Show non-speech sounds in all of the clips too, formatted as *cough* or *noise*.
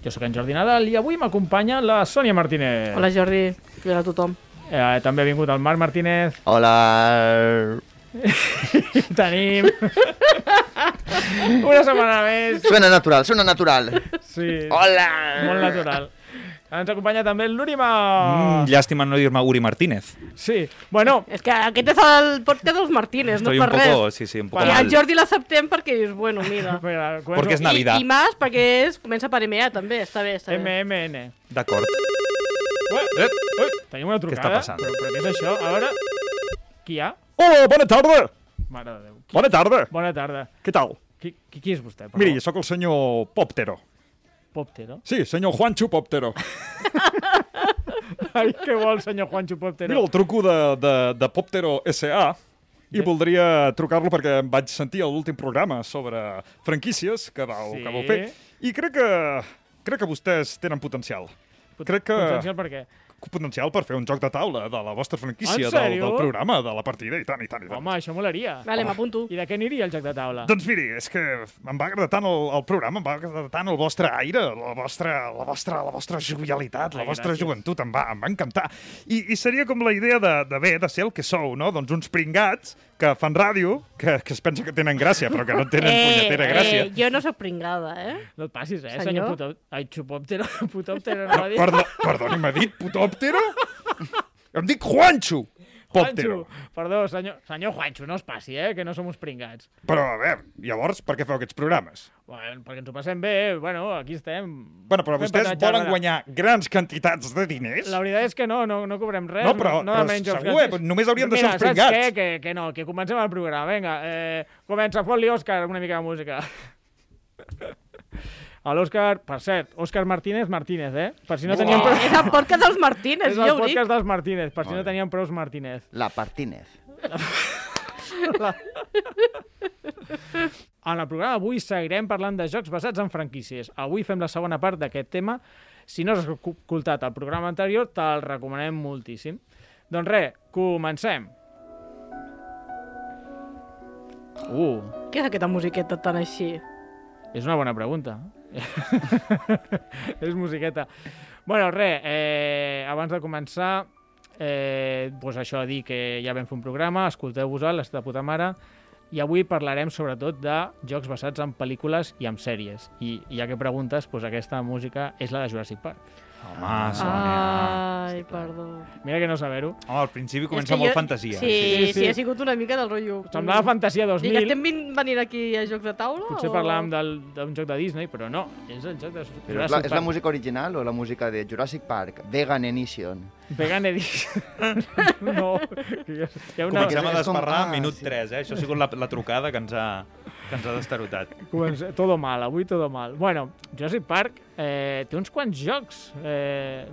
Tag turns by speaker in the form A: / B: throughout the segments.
A: Jo sóc en Jordi Nadal i avui m'acompanya la Sònia Martínez.
B: Hola Jordi, i hola a tothom.
A: Eh, també ha vingut el Marc Martínez. *laughs*
C: Hola.
A: I tenim... Una setmana més.
C: Suena natural, suena natural.
A: Sí,
C: Hola.
A: molt natural. Ens acompanya també el Lurima.
D: Mm, llàstima no dir-me Uri Martínez.
A: Sí, bueno,
B: És que aquest és el podcast dels Martínez,
D: Estoy
B: no
D: un
B: per res.
D: poco, sí, sí, un poco
B: I
A: Bueno,
D: mal.
B: al Jordi l'acceptem perquè dius, bueno,
A: *laughs*
B: mira.
A: mira, començo.
D: Perquè és
B: I,
D: Navidad.
B: I més perquè és, comença per MA també, està bé, està bé.
A: MMN.
D: D'acord.
A: Ui,
E: Eh?
A: ui, tenim una trucada.
D: està passant?
A: Però, però què és això? A veure, qui hi ha?
E: Hola, Oh, bona tarda!
A: Mare de Déu. Qui...
E: Bona tarda!
A: Bona tarda.
E: Què tal?
A: Qui, qui, qui és vostè? per
E: Miri,
A: favor?
E: sóc el senyor Poptero.
A: Poptero.
E: Sí, senyor Juancho Poptero.
A: *laughs* Ai, què vol, senyor Juancho Poptero?
E: Mira, el truco de, de, de Poptero S.A. I voldria trucar-lo perquè em vaig sentir a l'últim programa sobre franquícies que vau,
A: Sí.
E: que vau fer. I crec que, crec que vostès tenen potencial.
A: Pot-
E: crec que-
A: Potencial per què?
E: Potencial per fer un joc de taula de la vostra franquícia,
A: En
E: del,
A: sèrio?
E: del programa, de la partida, i tant, i tant, i tant.
A: Home, això molaria.
B: Vale, m'apunto.
A: I de què aniria el joc de taula?
E: Doncs miri, és que em va agradar tant el, el programa, em va agradar tant el vostre aire, la vostra, la vostra, la vostra jovialitat, la
A: Ai,
E: vostra
A: gràcies.
E: joventut, em va, em va encantar. I, I seria com la idea de, de bé, de ser el que sou, no? Doncs uns pringats que fan ràdio, que, que es pensa que tenen gràcia, però que no tenen punyetera gràcia.
B: eh, jo no sóc pringada, eh?
A: No et passis, eh, senyor,
B: Senyor?
A: Putop... Ai, *laughs* Xupoptero, Putoptero, no
E: No,
A: va dir...
E: perdó, perdoni, m'ha dit putòptero? Em dic Juancho! Poptero.
A: Juancho, perdó, senyor, senyor Juancho, no es passi, eh, que no som uns pringats.
E: Però, a veure, llavors, per què feu aquests programes?
A: Bueno, perquè ens ho passem bé, eh, bueno, aquí estem.
E: Bueno, però
A: Fem
E: vostès
A: patata
E: volen
A: xerrada.
E: guanyar grans quantitats de diners?
A: La veritat és que no, no, no cobrem res.
E: No, però-
A: no
E: però
A: demanem jocs
E: segur,
A: gratis.
E: eh, només hauríem de ser
A: Mira,
E: uns
A: saps
E: pringats.
A: Què? Que, que no, que comencem el programa. Vinga, eh, comença, fot-li, Òscar, una mica de música. *laughs* A l'Òscar, per cert, Òscar Martínez Martínez, eh? Per si no teníem prou...
B: És el podcast dels Martínez,
A: És
B: ja
A: el
B: ho dic.
A: podcast dels Martínez, per si no teníem prou Martínez.
C: La Partínez.
A: En el programa avui seguirem parlant de jocs basats en franquícies. Avui fem la segona part d'aquest tema. Si no has escoltat el programa anterior, te'l recomanem moltíssim. Doncs res, comencem. Uh,
B: Què és aquesta musiqueta tan així?
A: és una bona pregunta. *laughs* és musiqueta. Bueno, res, eh, abans de començar, eh, doncs això, dir que ja vam fer un programa, escolteu-vos-el, l'està de puta mare, i avui parlarem sobretot de jocs basats en pel·lícules i en sèries. I ja que preguntes, doncs aquesta música és la de Jurassic Park.
D: Home,
B: Ah.
D: Sònia.
B: Ai, perdó.
A: Mira que no saber-ho.
D: Home, al principi
B: És
D: comença
B: que
D: molt fantasia.
B: Sí,
A: Sí,
B: sí,
A: sí.
B: sí, ha sigut una mica del rotllo.
A: Semblava Fantasia
B: Dic,
A: 2000,
B: Mm. estem vin- venint aquí a Jocs de Taula?
A: potser
B: o-
A: parlàvem del- d'un joc de Disney, però no, és el joc de Jurassic
C: Però és la, és la
A: Park.
C: música original o la música de Jurassic Park? Vegan Edition.
A: Vegan Edition. *laughs* no, que hi ha- hi ha una...
D: Comencem a
C: és com-
D: desparrar
C: ah,
D: minut
C: sí.
D: 3, eh? Això ha sigut la, la trucada que ens ha, que ens ha destarotat.
A: Comença, todo mal, avui todo mal. Bueno, Jurassic Park eh, té uns quants jocs, eh,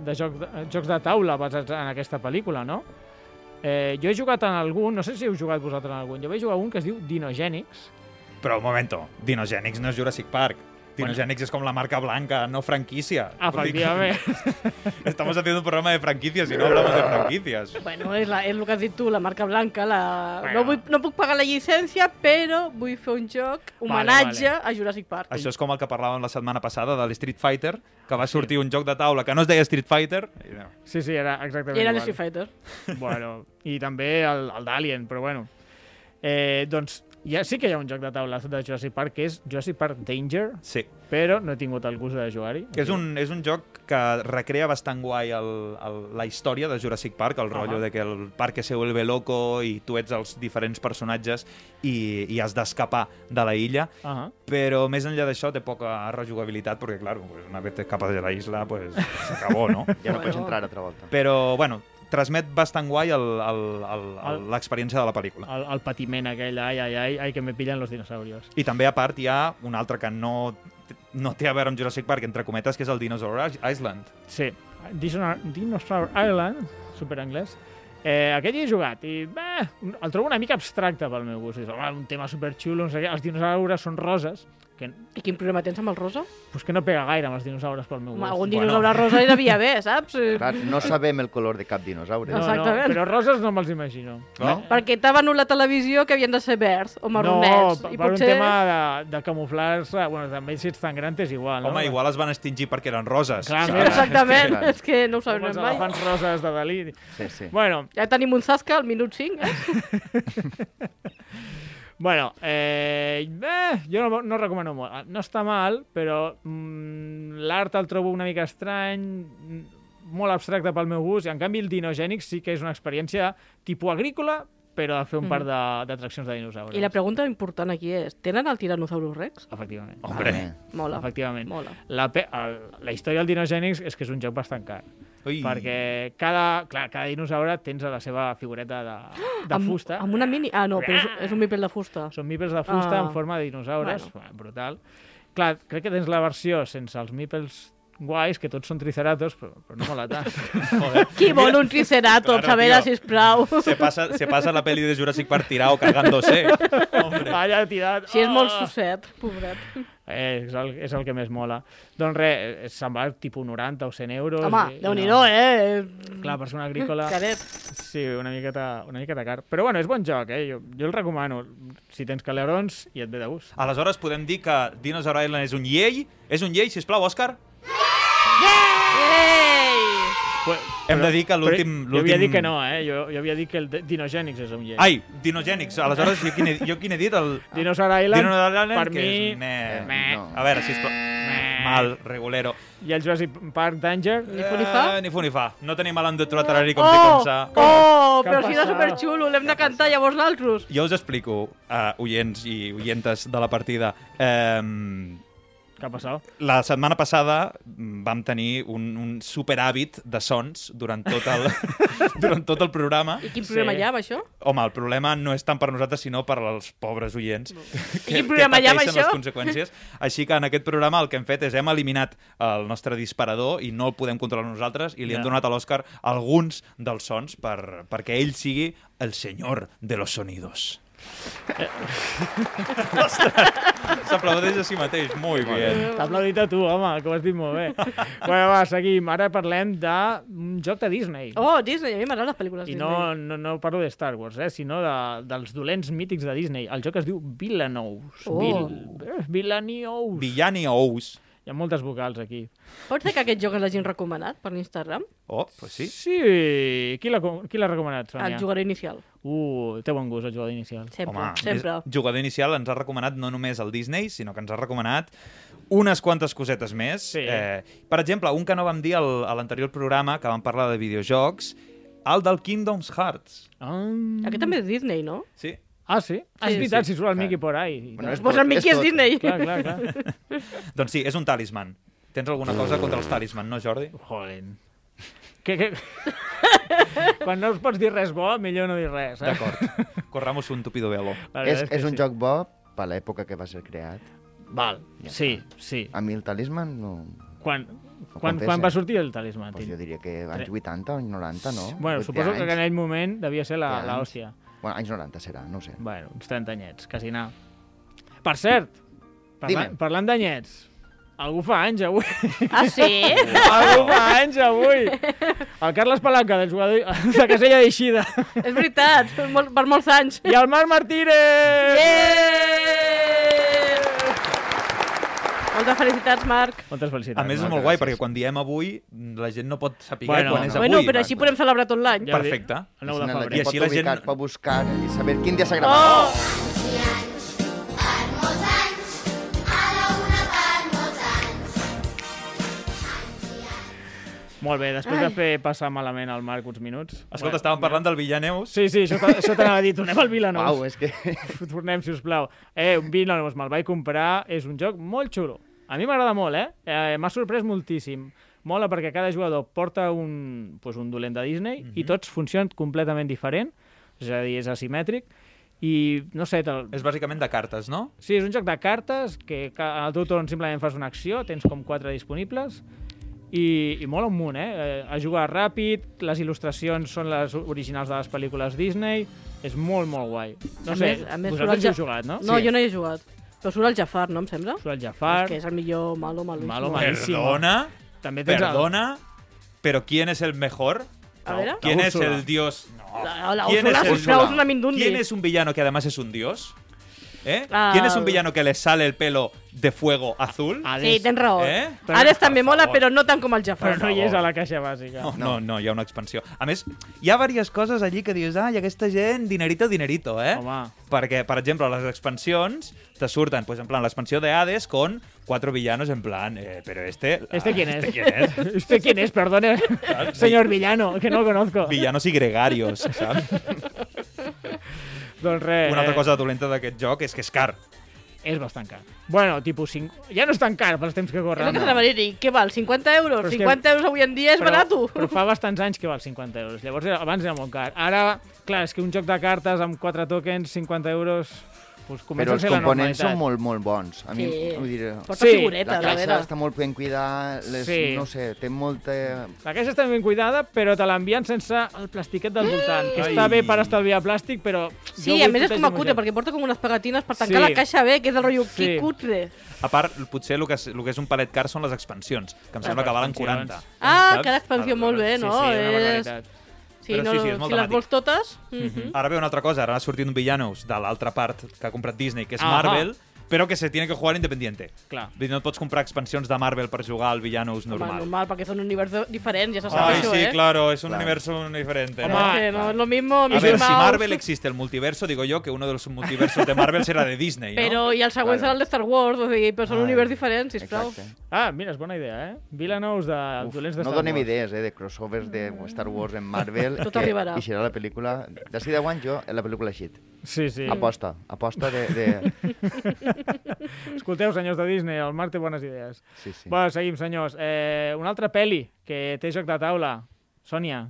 A: de, joc, de jocs de taula basats en aquesta pel·lícula, no? Eh, jo he jugat en algun, no sé si heu jugat vosaltres en algun, jo vaig jugar a un que es diu Dinogenics.
D: Però, un momento, Dinogenics no és Jurassic Park. Dinogenics és com la marca blanca, no franquicia. Vull dir que
A: Efectivament.
D: *laughs* Estamos haciendo un programa de franquicias y no hablamos de franquicias.
B: Bueno, és, la, és el que has dit tu, la marca blanca. La...
A: Bueno.
B: No, vull, no puc pagar la llicència, però vull fer un joc homenatge
A: Vale,
B: a Jurassic Park.
D: Això és com el que parlàvem la setmana passada de l'Street Fighter, que
C: Ah,
D: va sortir un joc de taula que no es deia Street Fighter. I, no.
A: Sí, sí, era exactament
B: Era
A: igual.
B: l'Street Fighter.
A: Bueno, i també el, el d'Alien, però bueno. Eh, doncs ja sí que hi ha un joc de taula de Jurassic Park que és Jurassic Park Danger,
D: Sí.
A: però no he tingut el gust de jugar-hi.
D: Que és, un, és un joc que recrea bastant guai el, el, la història de Jurassic Park, el rotllo de que el parque se vuelve loco i tu ets els diferents personatges i, i has d'escapar de la illa,
A: Uh -huh.
D: però més enllà d'això té poca rejugabilitat perquè, clar, pues, una vez te escapas de la isla, pues s'acabó, no?
C: Ja no
B: Bueno.
C: pots entrar altra volta.
D: Però, bueno, transmet bastant guai el- el- el-
A: El-
D: el- l'experiència de la pel·lícula.
A: el, el patiment aquell, ai, ai, ai, ai, que me pillen los dinosaurios.
D: I també, a part, hi ha un altre que no, no té a veure amb Jurassic Park, entre cometes, que és el Dinosaur Island.
A: Sí, Dinosaur, Dinosaur Island, super anglès, eh, aquest hi he jugat i bah, el trobo una mica abstracte pel meu gust. És, home, un tema superxulo, no sé què. Els dinosaures són roses, que,
B: I quin problema tens amb el rosa?
A: pues que no pega gaire amb els dinosaures pel meu gust.
B: Home, algun dinosaure rosa hi devia
A: *laughs*
B: haver, saps?
C: Clar, no sabem el color de cap dinosaure.
A: No, no,
B: Exactament.
A: però roses no me'ls imagino.
D: No?
B: Perquè t'aven la televisió que havien de ser verds o marronets.
A: No,
B: I
A: per
B: potser...
A: un tema de, de camuflar-se, bueno, també si ets tan gran t'és igual, no?
D: Home, igual es van extingir perquè eren roses.
A: Clar,
D: saps?
A: mira.
B: Exactament,
C: Clar.
B: és que no ho
A: Com
B: sabrem
A: els
B: mai.
A: elefants roses de Dalí.
C: Sí, sí.
A: Bueno,
B: Ja tenim un Zasca al minut 5, eh?
A: Bueno, eh, eh, jo no, no recomano molt. Ah, No està mal, però mm, l'art el trobo una mica estrany, mm, molt abstracte pel meu gust, i en canvi el dinogènic sí que és una experiència tipus agrícola, però a fer un
B: Mhm.
A: par de- d'atraccions de, de dinosaures.
B: I la pregunta important aquí és, tenen el Tyrannosaurus Rex?
A: Efectivament.
D: Hombre.
C: Home.
B: Mola,
A: Efectivament.
B: mola.
A: La, pe el, la història del dinogènics és que és un joc bastant car,
D: Ui. *laughs*
A: perquè cada, clar, cada dinosaure tens a la seva figureta de, de
B: amb,
A: fusta.
B: Amb una mini... Ah, no, però és, és un mipel de fusta.
A: Són mipels de fusta
B: Ah.
A: en forma de dinosaures. Bueno. Brutal. Clar, crec que tens la versió sense els mipels guais, que tots són triceratops, però, però no mola
D: *laughs*
A: tant.
B: Qui vol un triceratops?
D: Claro,
B: a veure,
D: tio.
B: sisplau.
D: Se pasa, se pasa la peli de Jurassic Park tirado cagándose. Hombre.
A: Allà tirat...
B: Si és molt
A: ah!
B: suset, pobret.
A: Eh, és, el, és el que més mola. Doncs res, eh, se'n va tipus 90 o 100 euros.
B: Home,
A: i- i
B: déu-n'hi-do, eh?
A: Clar, per ser una agrícola...
B: *laughs* Caret.
A: Sí, una miqueta, una miqueta car. Però bueno, és bon joc, eh? Jo, jo el recomano. Si tens calerons, i et ve de gust.
D: Aleshores podem dir que Dinosaur Island és un llei? És un llei, sisplau, Òscar?
B: Ei!
A: Però,
D: Hem de dir que l'últim...
A: Jo havia
D: l'últim-
A: dit que no, eh? Jo, jo havia dit que el de- Dinogènics és un llei.
D: Ai, Dinogènics. Aleshores, jo quin he, jo quin he dit? El...
A: *laughs* Dinosaur Island,
D: Dinosaur Island,
A: per
D: que
A: mi... eh,
D: és un ne-
A: meh,
C: no.
D: A veure, sisplau.
A: meh.
D: Mal, regulero.
A: I el Jurassic Park Danger...
D: Ni
B: fu ni fa?
D: ni fu ni fa. No tenim a l'Ando Trotarari com si
B: Oh,
D: com sa.
B: oh,
A: Què
B: però
A: ha
B: si era
A: passat?
B: superxulo, l'hem de cantar llavors naltros.
D: Jo us explico, uh, oients i oientes de la partida. Eh,
A: Què ha passat?
D: La setmana passada mm, vam tenir un, un superhàbit de sons durant tot el, durant tot el programa.
B: I quin
A: Sí.
B: problema hi ha amb això?
D: Home, el problema no és tant per nosaltres, sinó per als pobres oients
B: quin programa hi ha amb
D: pateixen
B: això?
D: les conseqüències. Així que en aquest programa el que hem fet és hem eliminat el nostre disparador i no el podem controlar nosaltres i li
A: Ja.
D: hem donat a l'Òscar alguns dels sons per, perquè ell sigui el senyor de los
B: *laughs*
D: sonidos. Ostres! S'aplaudeix a si mateix. Muy bien.
A: T'ha aplaudit a tu, home, que ho has dit molt bé. bueno, va, seguim. Ara parlem d'un joc de Disney.
B: Oh, Disney, a mi m'agraden les pel·lícules
A: I
B: Disney.
A: no, no, no parlo de Star Wars, eh, sinó de, dels dolents mítics de Disney. El joc es diu Villanous.
B: Oh.
A: Vil, Villanous.
D: Villani Ous.
A: Hi ha moltes vocals aquí.
B: Pot ser que aquest joc l'hagin recomanat per l'Instagram?
D: Oh, pues sí.
A: Sí. Qui l'ha co- qui l'ha recomanat, Sònia?
B: El jugador inicial.
A: Uh, té bon gust, el jugador inicial.
B: Sempre,
D: Home,
B: sempre.
D: és- jugador inicial ens ha recomanat no només el Disney, sinó que ens ha recomanat unes quantes cosetes més. Eh,
A: Sí.
D: per exemple, un que no vam dir al, a l'anterior programa, que vam parlar de videojocs, el del Kingdoms Hearts.
A: Ah,
B: Aquest també és Disney, no?
D: Sí.
A: ah sí? Ah, és
B: Sí,
A: veritat,
C: sí.
A: si surt el
C: Clar.
A: Mickey por ahí.
C: Bueno, és
B: Pues
C: tot,
B: el Mickey és
C: tot.
B: Disney.
A: Clar, clar, clar.
D: Doncs sí, és un talisman. Tens alguna cosa contra els talisman, no,
B: *laughs*
D: Jordi?
A: Joder. Que, *laughs* que... Quan no us pots dir res bo, millor no dir res. Eh?
D: D'acord. Corramos un tupido velo.
A: La
C: És,
A: veritat
C: és
A: que
C: un
A: sí.
C: joc bo per l'època que va ser creat.
A: Val, sí, sí.
C: A mi el talisman no...
A: Quan, quan,
C: Ah. quan
A: quan
C: pesa.
A: va sortir el talismà?
C: Pues
A: Tim?
C: jo diria que anys 80 o anys 90, no?
A: Bueno,
C: 80
A: suposo que en
C: anys.
A: aquell moment devia ser la-
C: Té
A: la
C: anys.
A: hòstia.
C: Bueno, anys 90 serà, no ho sé.
A: Bueno, uns 30 anyets, quasi anar. Per cert, parla
C: Dime.
A: parlant d'anyets, algú fa anys avui.
B: Ah, sí?
A: *laughs* algú fa anys avui. El Carles Palanca, del jugador de Casella d'Eixida.
B: és veritat, molt, per molts anys.
A: I el Marc Martínez!
B: Moltes felicitats, Marc.
A: Moltes felicitats.
D: A més, és
A: Marc.
D: molt guai, perquè quan diem avui, la gent no pot saber
A: Bueno,
D: quan és
C: no.
D: avui.
B: bueno, però així
C: Marc.
B: podem celebrar tot l'any.
A: Ja ho dic,
D: perfecte.
A: El 9 de
C: Així
A: febrer.
D: I així
C: pot
D: la gent-
C: ubicar, Pot buscar i saber quin dia s'ha gravat.
B: Oh!
A: Molt bé, després de fer passar malament al Marc uns minuts...
D: Escolta, estàvem parlant del Villaneus.
A: Sí, sí, això, t'ha- això t'anava a dir, tornem al Vilanous.
C: Uau, és que...
A: Tornem, si us plau. Eh, un Vilanous me'l vaig comprar, és un joc molt xulo. A mi m'agrada molt, eh? eh M'ha sorprès moltíssim. Mola perquè cada jugador porta un, pues, un dolent de Disney
D: Mhm.
A: i tots funcionen completament diferent, és a dir, és asimètric, i no sé, te'l-
D: És bàsicament de cartes, no?
A: Sí, és un joc de cartes que ca- en el teu torn simplement fas una acció, tens com quatre disponibles i, i mola un munt, eh? eh? A jugar ràpid, les il·lustracions són les originals de les pel·lícules Disney, és molt, molt guai. No
B: A
A: sé,
B: més- a més,
A: vosaltres hi
B: Soraya-
A: heu jugat, no?
B: No, jo no hi he jugat. Però surt el Jafar, no, em sembla?
A: Surt el Jafar,
B: És que és el millor malo malísimo.
A: Malo, malísimo.
D: Perdona,
A: també tens el...
D: perdona, pero ¿quién es el mejor?
B: A veure.
D: ¿Quién es
A: Úrsula.
D: el dios? No.
B: La, la
D: ¿Quién
B: Úrsula,
D: es el
B: sisplau,
D: Úrsula?
B: Úrsula Mindundi.
D: ¿Quién es un villano que además es un dios? ¿Eh?
B: Ah,
D: ¿Quién es un
B: el-
D: villano que le sale el pelo de fuego azul?
B: Sí,
A: Hades.
B: tens raó.
D: Eh?
B: Eh? Ares també
D: Per
B: mola,
D: favor.
B: però no tant com el Jafar.
A: Ah, Però no hi és a la caixa bàsica.
D: No, no, no, hi ha una expansió. A més, hi ha diverses coses allí que dius, ah, i aquesta gent, dinerito, dinerito, eh?
A: Home.
D: Perquè, per exemple, les expansions te surten, pues, en plan, l'expansió de Hades con cuatro villanos, en plan, eh, pero este...
A: ¿Este
D: ah,
A: quién es?
D: ¿Este quién
A: *laughs*
D: es?
A: ¿Usted quién es? Perdone, señor villano, que no lo conozco.
D: Villanos i gregarios, saps?
A: Doncs res,
D: Una altra
A: eh,
D: cosa dolenta d'aquest joc és que és car.
A: és bastant car. Bueno, tipus 5... Ja no és tan car pels temps que
B: És el
A: corren.
B: que t'anava a dir, i què val? 50 euros?
A: Però és que-
B: 50 euros avui en dia és barato.
A: però fa bastants anys que val 50 euros. Llavors, era, abans era molt car. Ara, clar, és que un joc de cartes amb 4 tokens, 50 euros... Pues
C: Però
A: comença a
C: els
A: ser la
C: components
A: normalitat.
C: són molt, molt bons. A mi,
B: Sí.
C: vull dir,
B: Porta
A: Sí,
B: figuretes,
C: la
B: a
C: caixa
B: veure.
C: està molt ben cuidada, les,
A: Sí.
C: no sé, té molta...
A: La caixa està ben cuidada, però te l'envien sense el plastiquet del voltant, que està
D: Ai.
A: bé per estalviar plàstic, però...
B: Sí, a més és com a cutre, perquè porta com unes pegatines per tancar
A: Sí.
B: la caixa bé, que és el rotllo
A: Sí.
B: que cutre.
D: A part, potser el que, és, el que és un palet car són les expansions, que em sembla que valen 40.
B: Ah,
D: Saps?
B: cada expansió
D: Ara,
B: molt bé,
D: sí,
B: no?
A: Sí,
D: sí,
A: una
D: una
B: és...
A: barbaritat.
B: Sí,
D: Però
B: no,
D: sí, sí, és molt
B: si les
D: dramàtic.
B: vols totes... mhm.
D: Ara ve una altra cosa, ara ha sortit un villanos de l'altra part que ha comprat Disney, que és
A: Ahà.
D: Marvel, però que se tiene que jugar independiente.
A: Clar.
D: Vull dir, no et pots comprar expansions de Marvel per jugar al villanos
B: Home,
D: normal.
B: normal, perquè són universos diferents, ja se sap
D: Ay,
B: això,
D: sí,
B: eh?
D: claro, es un
C: Claro.
D: universo diferente.
A: Home,
D: ¿no?
A: Ah,
B: Que no es lo mismo,
D: A
B: Mickey
D: ver, si
B: Mouse,
D: Marvel existe el multiverso, digo yo que uno de los multiversos de Marvel será de Disney, ¿no?
B: Però i el següent
C: Claro.
B: serà el de Star Wars, o sigui, però són
D: Ai.
B: un univers diferent, sisplau.
C: Exacte.
A: Ah, mira, és bona idea, eh? Vilanous de Uf, Dolents de
C: no
A: Star
C: donem
A: Wars.
C: idees eh, de crossovers de Star Wars en Marvel.
B: Tot
C: que
B: arribarà.
C: I serà la pel·lícula... D'ací 10 anys jo, eh, la pel·lícula així.
A: Sí, sí.
C: Aposta, aposta de... de...
A: Escolteu, senyors de Disney, el Marc té bones idees.
C: Sí, sí.
A: Bueno, seguim, senyors. Eh, una altra peli que té joc de taula. Sònia,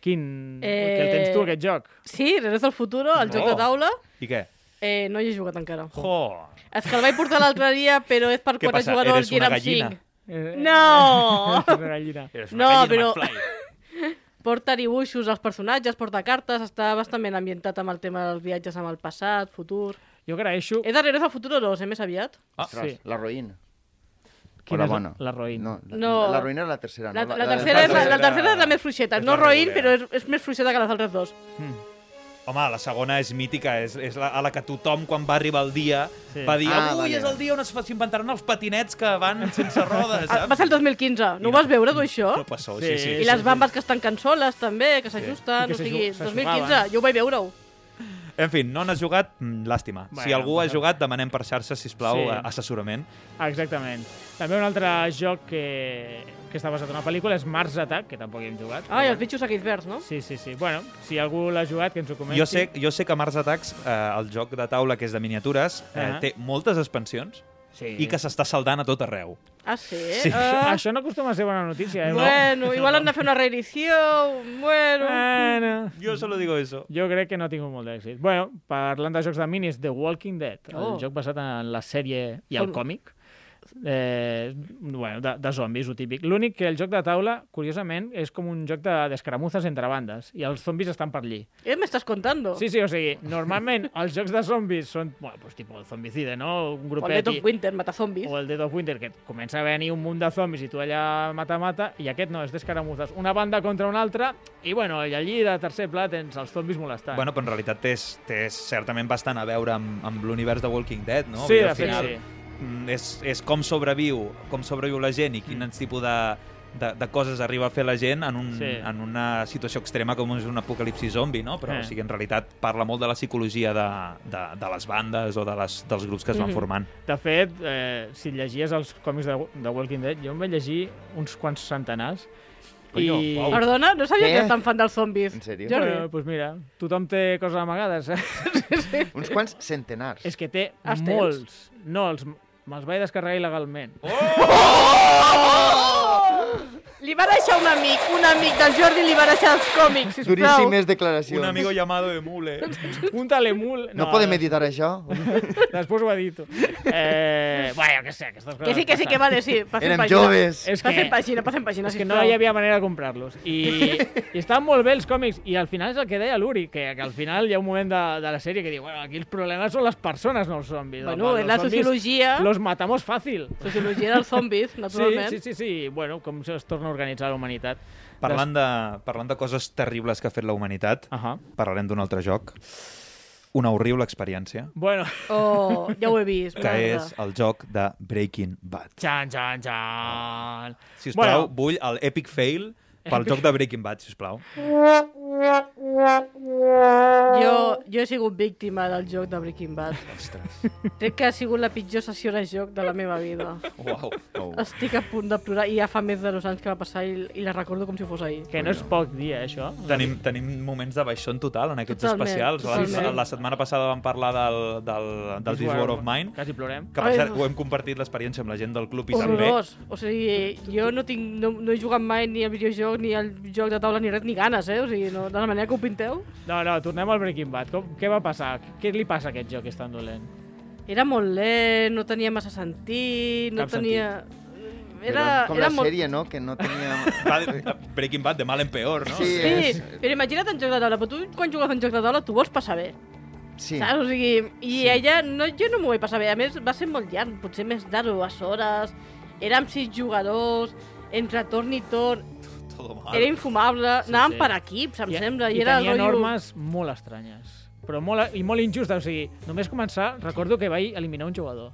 A: quin...
B: Eh,
A: Eh... Que el tens tu, aquest joc.
B: Sí, Regreso al futuro, el joc
D: Oh.
B: de taula,
D: I què?
B: eh, no hi he jugat encara.
D: Jo!
B: És que el vaig portar l'altre dia, però és per
D: Què
B: quatre
D: passa?
B: jugadors
D: Eres
B: i
D: una
B: érem
D: gallina?
B: cinc.
A: Eh, *laughs*
B: No!
A: és una gallina.
D: Eres
B: No,
D: una gallina
B: però-
D: McFly.
B: porta dibuixos als personatges, porta cartes, està bastant ben ambientat amb el tema dels viatges amb el passat, futur...
A: Jo agraeixo...
B: És de Regreso al futuro 2, eh, més aviat?
D: Ah,
C: Ostres,
A: sí.
C: la roïna.
A: Quina
C: o la
A: és la-
C: bona?
A: la roïna?
C: No, la,
B: No.
C: la roïna és la tercera.
B: La,
C: no?
B: la, tercera és la, la
D: tercera.
B: tercera és la més fluixeta.
D: És
B: No
D: la
B: roïn, però
D: regulera.
B: és, és més fluixeta que les altres dos.
D: Home, la segona és mítica, és, és la, a la que tothom, quan va arribar el dia,
A: Sí.
D: va dir
C: Ah,
D: avui
C: vale.
D: és el dia on es fa- s'inventaran els patinets que van sense rodes,
B: Ah,
D: saps?
B: Va ser el 2015. No ho vas veure, tu, això?
D: Però passó, sí, sí.
B: I les bambes que estan cansoles, també, que
A: I que
B: s'ajusten, o sigui,
A: s'aju-
B: 2015,
A: s'ajugaven.
B: jo ho vaig veure-ho.
D: En fi, no n'has jugat? Mm, Llàstima.
A: Bueno,
D: si algú ha
A: però-
D: jugat, demanem per xarxa, sisplau,
A: Sí.
D: sí. assessorament.
A: Exactament. També un altre joc que, que està basat en una pel·lícula és Mars Attack, que tampoc hi hem jugat.
B: Ai, els bitxos aquells verds, no?
A: Sí, sí, sí. Bueno, si algú l'ha jugat, que ens ho comenti.
D: Jo sé, jo sé que Mars Attacks, eh, el joc de taula que és de miniatures, eh,
A: Ah.
D: té moltes expansions
A: Sí.
D: i que s'està saldant a tot arreu.
B: Ah, sí?
D: Sí.
B: Ah,
A: Això no acostuma a ser bona notícia, eh?
B: bueno, igual han de fer una reedició, bueno...
A: Bueno.
D: Jo solo digo eso.
A: Jo crec que no ha tingut molt d'èxit. Bueno, parlant de jocs de minis, The Walking Dead, oh.
B: Oh.
A: el joc basat en la sèrie i el
B: Com-
A: còmic, eh, bueno, de, de zombis, ho típic. L'únic que el joc de taula, curiosament, és com un joc de- d'escaramuzes entre bandes, i els zombis estan per allí.
B: Eh, m'estàs contando?
A: Sí, sí, o sigui, normalment *laughs* els jocs de zombis són, bueno, doncs, tipus el zombicide, no? Un
B: O el Dead
A: grupet
B: of
A: i,
B: Winter, mata zombis.
A: o el Dead of Winter, que comença a venir un munt de zombis i tu allà mata-mata, i aquest no, és d'escaramuzes. Una banda contra una altra, i bueno, i allí de tercer pla tens els zombis molestant.
D: Bueno, però en realitat té, té certament bastant a veure amb, amb l'univers de Walking Dead, no?
A: sí,
D: Vull dir,
A: de
D: al
A: fet,
D: final,
A: sí.
D: mm, és, és com sobreviu, com sobreviu la gent i quin tipus de, de, de coses arriba a fer la gent en, un,
A: Sí.
D: sí. en una situació extrema com és un apocalipsi zombi, no? Però
A: Eh.
D: eh. o sigui, en realitat parla molt de la psicologia de, de, de les bandes o de les, dels grups que es van
B: Mhm.
D: formant.
A: De fet, eh, si llegies els còmics de, de Walking Dead, jo em vaig llegir uns quants centenars.
D: Colló, uau.
B: Perdona, no sabia
C: Què?
B: que eres tan fan dels zombis.
C: En sèrio?
B: Jordi,
A: Bueno, eh, pues mira, tothom té coses amagades. eh?
B: *laughs*
C: Uns quants centenars.
A: És que té
B: Els tens?
A: molts. No, els, me'ls vaig descarregar il·legalment.
B: li va deixar un amic, un amic del Jordi li va deixar els còmics, sisplau.
C: Duríssimes declaracions.
D: Un amigo llamado Emule.
A: *laughs* Un talemul...
C: No, podem editar això?
A: Després ho
D: *laughs*
A: edito. Eh, bueno, que sé, aquestes coses...
B: Que sí, que sí, que vale, sí. Passem
C: Érem
B: pàgina.
C: joves.
A: És
B: Passem
A: que,
B: pàgina, passem pàgina,
A: és que
B: sisplau.
A: no hi havia manera de comprar-los.
B: *laughs*
A: I, I estaven molt bé els còmics. I al final és el que deia l'Uri, que, que al final hi ha un moment de, de la sèrie que diu bueno, aquí els problemes són les persones, no els zombis.
B: Bueno,
A: Home,
B: és
A: los
B: la
A: zombis
B: sociologia,
A: Los matamos fàcil.
B: sociologia dels zombis,
A: Sí,
B: naturalment.
A: sí, sí, sí. Bueno, com es torna a organitzar la humanitat.
D: Parlant de, parlant de coses terribles que ha fet la humanitat,
A: Ahà.
D: parlarem d'un altre joc. Una horrible experiència,
A: Bueno, *laughs*
B: Oh, ja ho he vist.
D: que
B: merda.
D: és el joc de Breaking Bad.
A: xan, xan, xan.
D: Si us plau, vull el Epic Fail pel joc de Breaking Bad, si us plau.
B: Jo, jo he sigut víctima del joc de Breaking Bad.
D: Ostres.
B: Crec que ha sigut la pitjor sessió de joc de la meva vida.
D: Uau.
B: Estic a punt de plorar i ja fa més de dos anys que va passar i, i la recordo com si fos ahir.
A: que no és poc dia, això.
D: Tenim, tenim moments de baixó en total en aquests
B: Totalment,
D: especials. La,
B: totalment.
D: la setmana passada vam parlar del, del, del This War of Mine,
A: Quasi plorem.
D: que per cert ho hem compartit l'experiència amb la gent del club i també
B: Horrorós. O sigui, jo no, tinc, no, no he jugat mai ni al videojoc, ni al joc de taula, ni res, ni ganes, eh? O sigui, no, de la manera que ho pinteu.
A: No, no, tornem al Breaking Bad. Com, què va passar? Què li passa a aquest joc que és tan dolent?
B: Era molt lent, no tenia massa sentit, no
A: Cap
B: tenia... Era,
C: Era, com
B: era
C: la
B: molt...
C: sèrie, no? Que no
B: *laughs*
C: tenia...
D: va de, Breaking Bad de mal en peor, no?
C: Sí.
B: Sí,
C: És-
B: però imagina't un joc de taula, però tu quan jugues a un joc de taula tu vols passar bé,
C: Sí.
B: saps? O sigui, i ella, no, jo no m'ho vaig passar bé, a més va ser molt llarg, potser més de dues hores, érem sis jugadors, entre torn i torn,
D: Todo mal.
B: era infumable, anàvem
A: sí.
B: per equips, em sembla,
A: i,
B: i, era
A: I tenia
B: el rotllo...
A: normes molt estranyes. Però molt, i molt injusta, o sigui, només començar, recordo que vaig eliminar un jugador.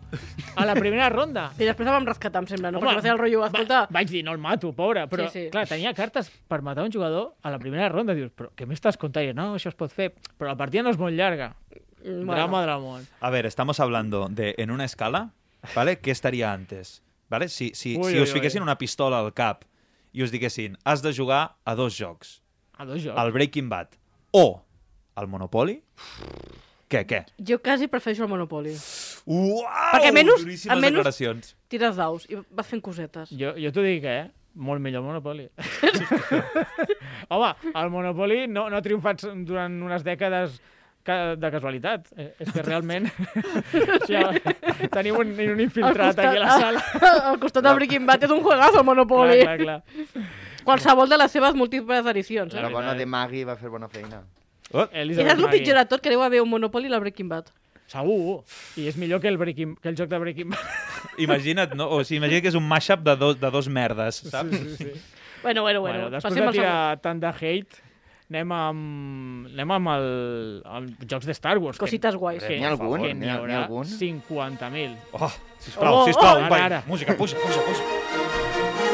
A: A la primera ronda.
B: I després el vam rescatar, em sembla, no?
A: Home,
B: Perquè va ser el rotllo, *laughs* escolta,
A: Va, vaig dir, no el mato, pobre, però sí,
B: Sí, sí.
A: sí. clar, tenia cartes per matar un jugador a la primera ronda. Dius, però què m'estàs contant? I jo, No, això es pot fer. Però la partida no és molt llarga.
B: bueno,
A: Bueno. Drama del món.
D: A ver, estamos hablando de en una escala, ¿vale? ¿Qué estaría antes? ¿Vale? Si, si,
A: Ui,
D: si
A: ui,
D: us
A: ui.
D: fiquessin una pistola al cap i us diguessin has de jugar a dos jocs,
A: A dos jocs.
D: al Breaking Bad o al Monopoly, què, què?
B: jo quasi prefereixo el Monopoli.
D: Uau!
B: Perquè menys-
D: duríssimes
B: a menys-
D: declaracions.
B: Tires daus i vas fent cosetes.
A: Jo, jo t'ho dic, eh? Molt millor el Monopoly. *laughs* Home, el Monopoly no, no ha triomfat durant unes dècades ca- de casualitat. Eh, És que
B: *laughs*
A: realment... ja, tenim un, un infiltrat aquí a la
B: *laughs*
A: sala.
B: al costat de Breaking Bad és un juegazo, el Monopoli.
A: Clar, clar, clar.
B: Qualsevol de les seves múltiples edicions.
A: Clar.
B: Eh?
C: La bona de Maggie va fer bona feina.
D: Oh,
B: I
A: Elizabeth
B: és el
A: Maggie.
B: pitjor de tot, que deu haver un Monopoli i la Breaking Bad.
A: Segur. I és millor que el, breaking, que el joc de Breaking Bad.
D: imagina't, no? O sigui, imagina't que és un mashup de dos, de dos merdes, saps?
A: Sí, sí, sí.
B: Bueno, bueno, bueno.
A: Bueno, després
B: Passem
A: de
B: al següent.
A: tirar tant de hate, anem amb, anem amb, el, amb jocs de Star Wars. que-
B: Cosites guais.
A: que-
C: N'hi ha algun?
A: que N'hi
C: N'hi ha- n'hi ha
A: haurà
C: algun?
A: 50.000.
D: Oh, sisplau,
B: Oh,
D: sisplau,
A: oh,
D: vai,
A: ara, ara.
D: música, puja, puja, puja.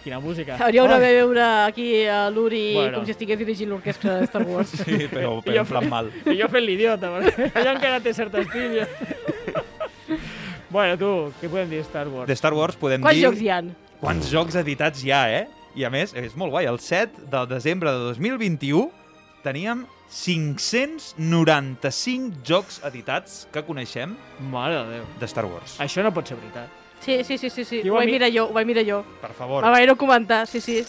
A: Quina música.
B: Hauríeu de veure aquí a l'Uri
A: Bueno.
B: com si estigués dirigint l'orquestra de Star
A: *laughs*
B: Wars.
D: Sí, *laughs* però, però en plan mal.
A: I jo fent l'idiota, perquè *laughs* jo encara té certes pilles. bueno, tu, què podem dir Star Wars?
D: De Star Wars podem
B: Quants
D: dir...
B: jocs hi ha?
D: Quants jocs editats hi ha, eh? I a més, és molt guai, el 7 de desembre de 2021 teníem 595 jocs editats que coneixem
A: Mare de Déu.
D: de Star Wars.
A: Això no pot ser veritat.
B: Sí, sí, sí, sí, sí.
A: Qui ho
B: Ho
A: ha
B: vaig
A: mi-
B: mirar jo, ho vaig mirar jo.
D: Per favor.
B: Va venir-ho a comentar, sí, sí.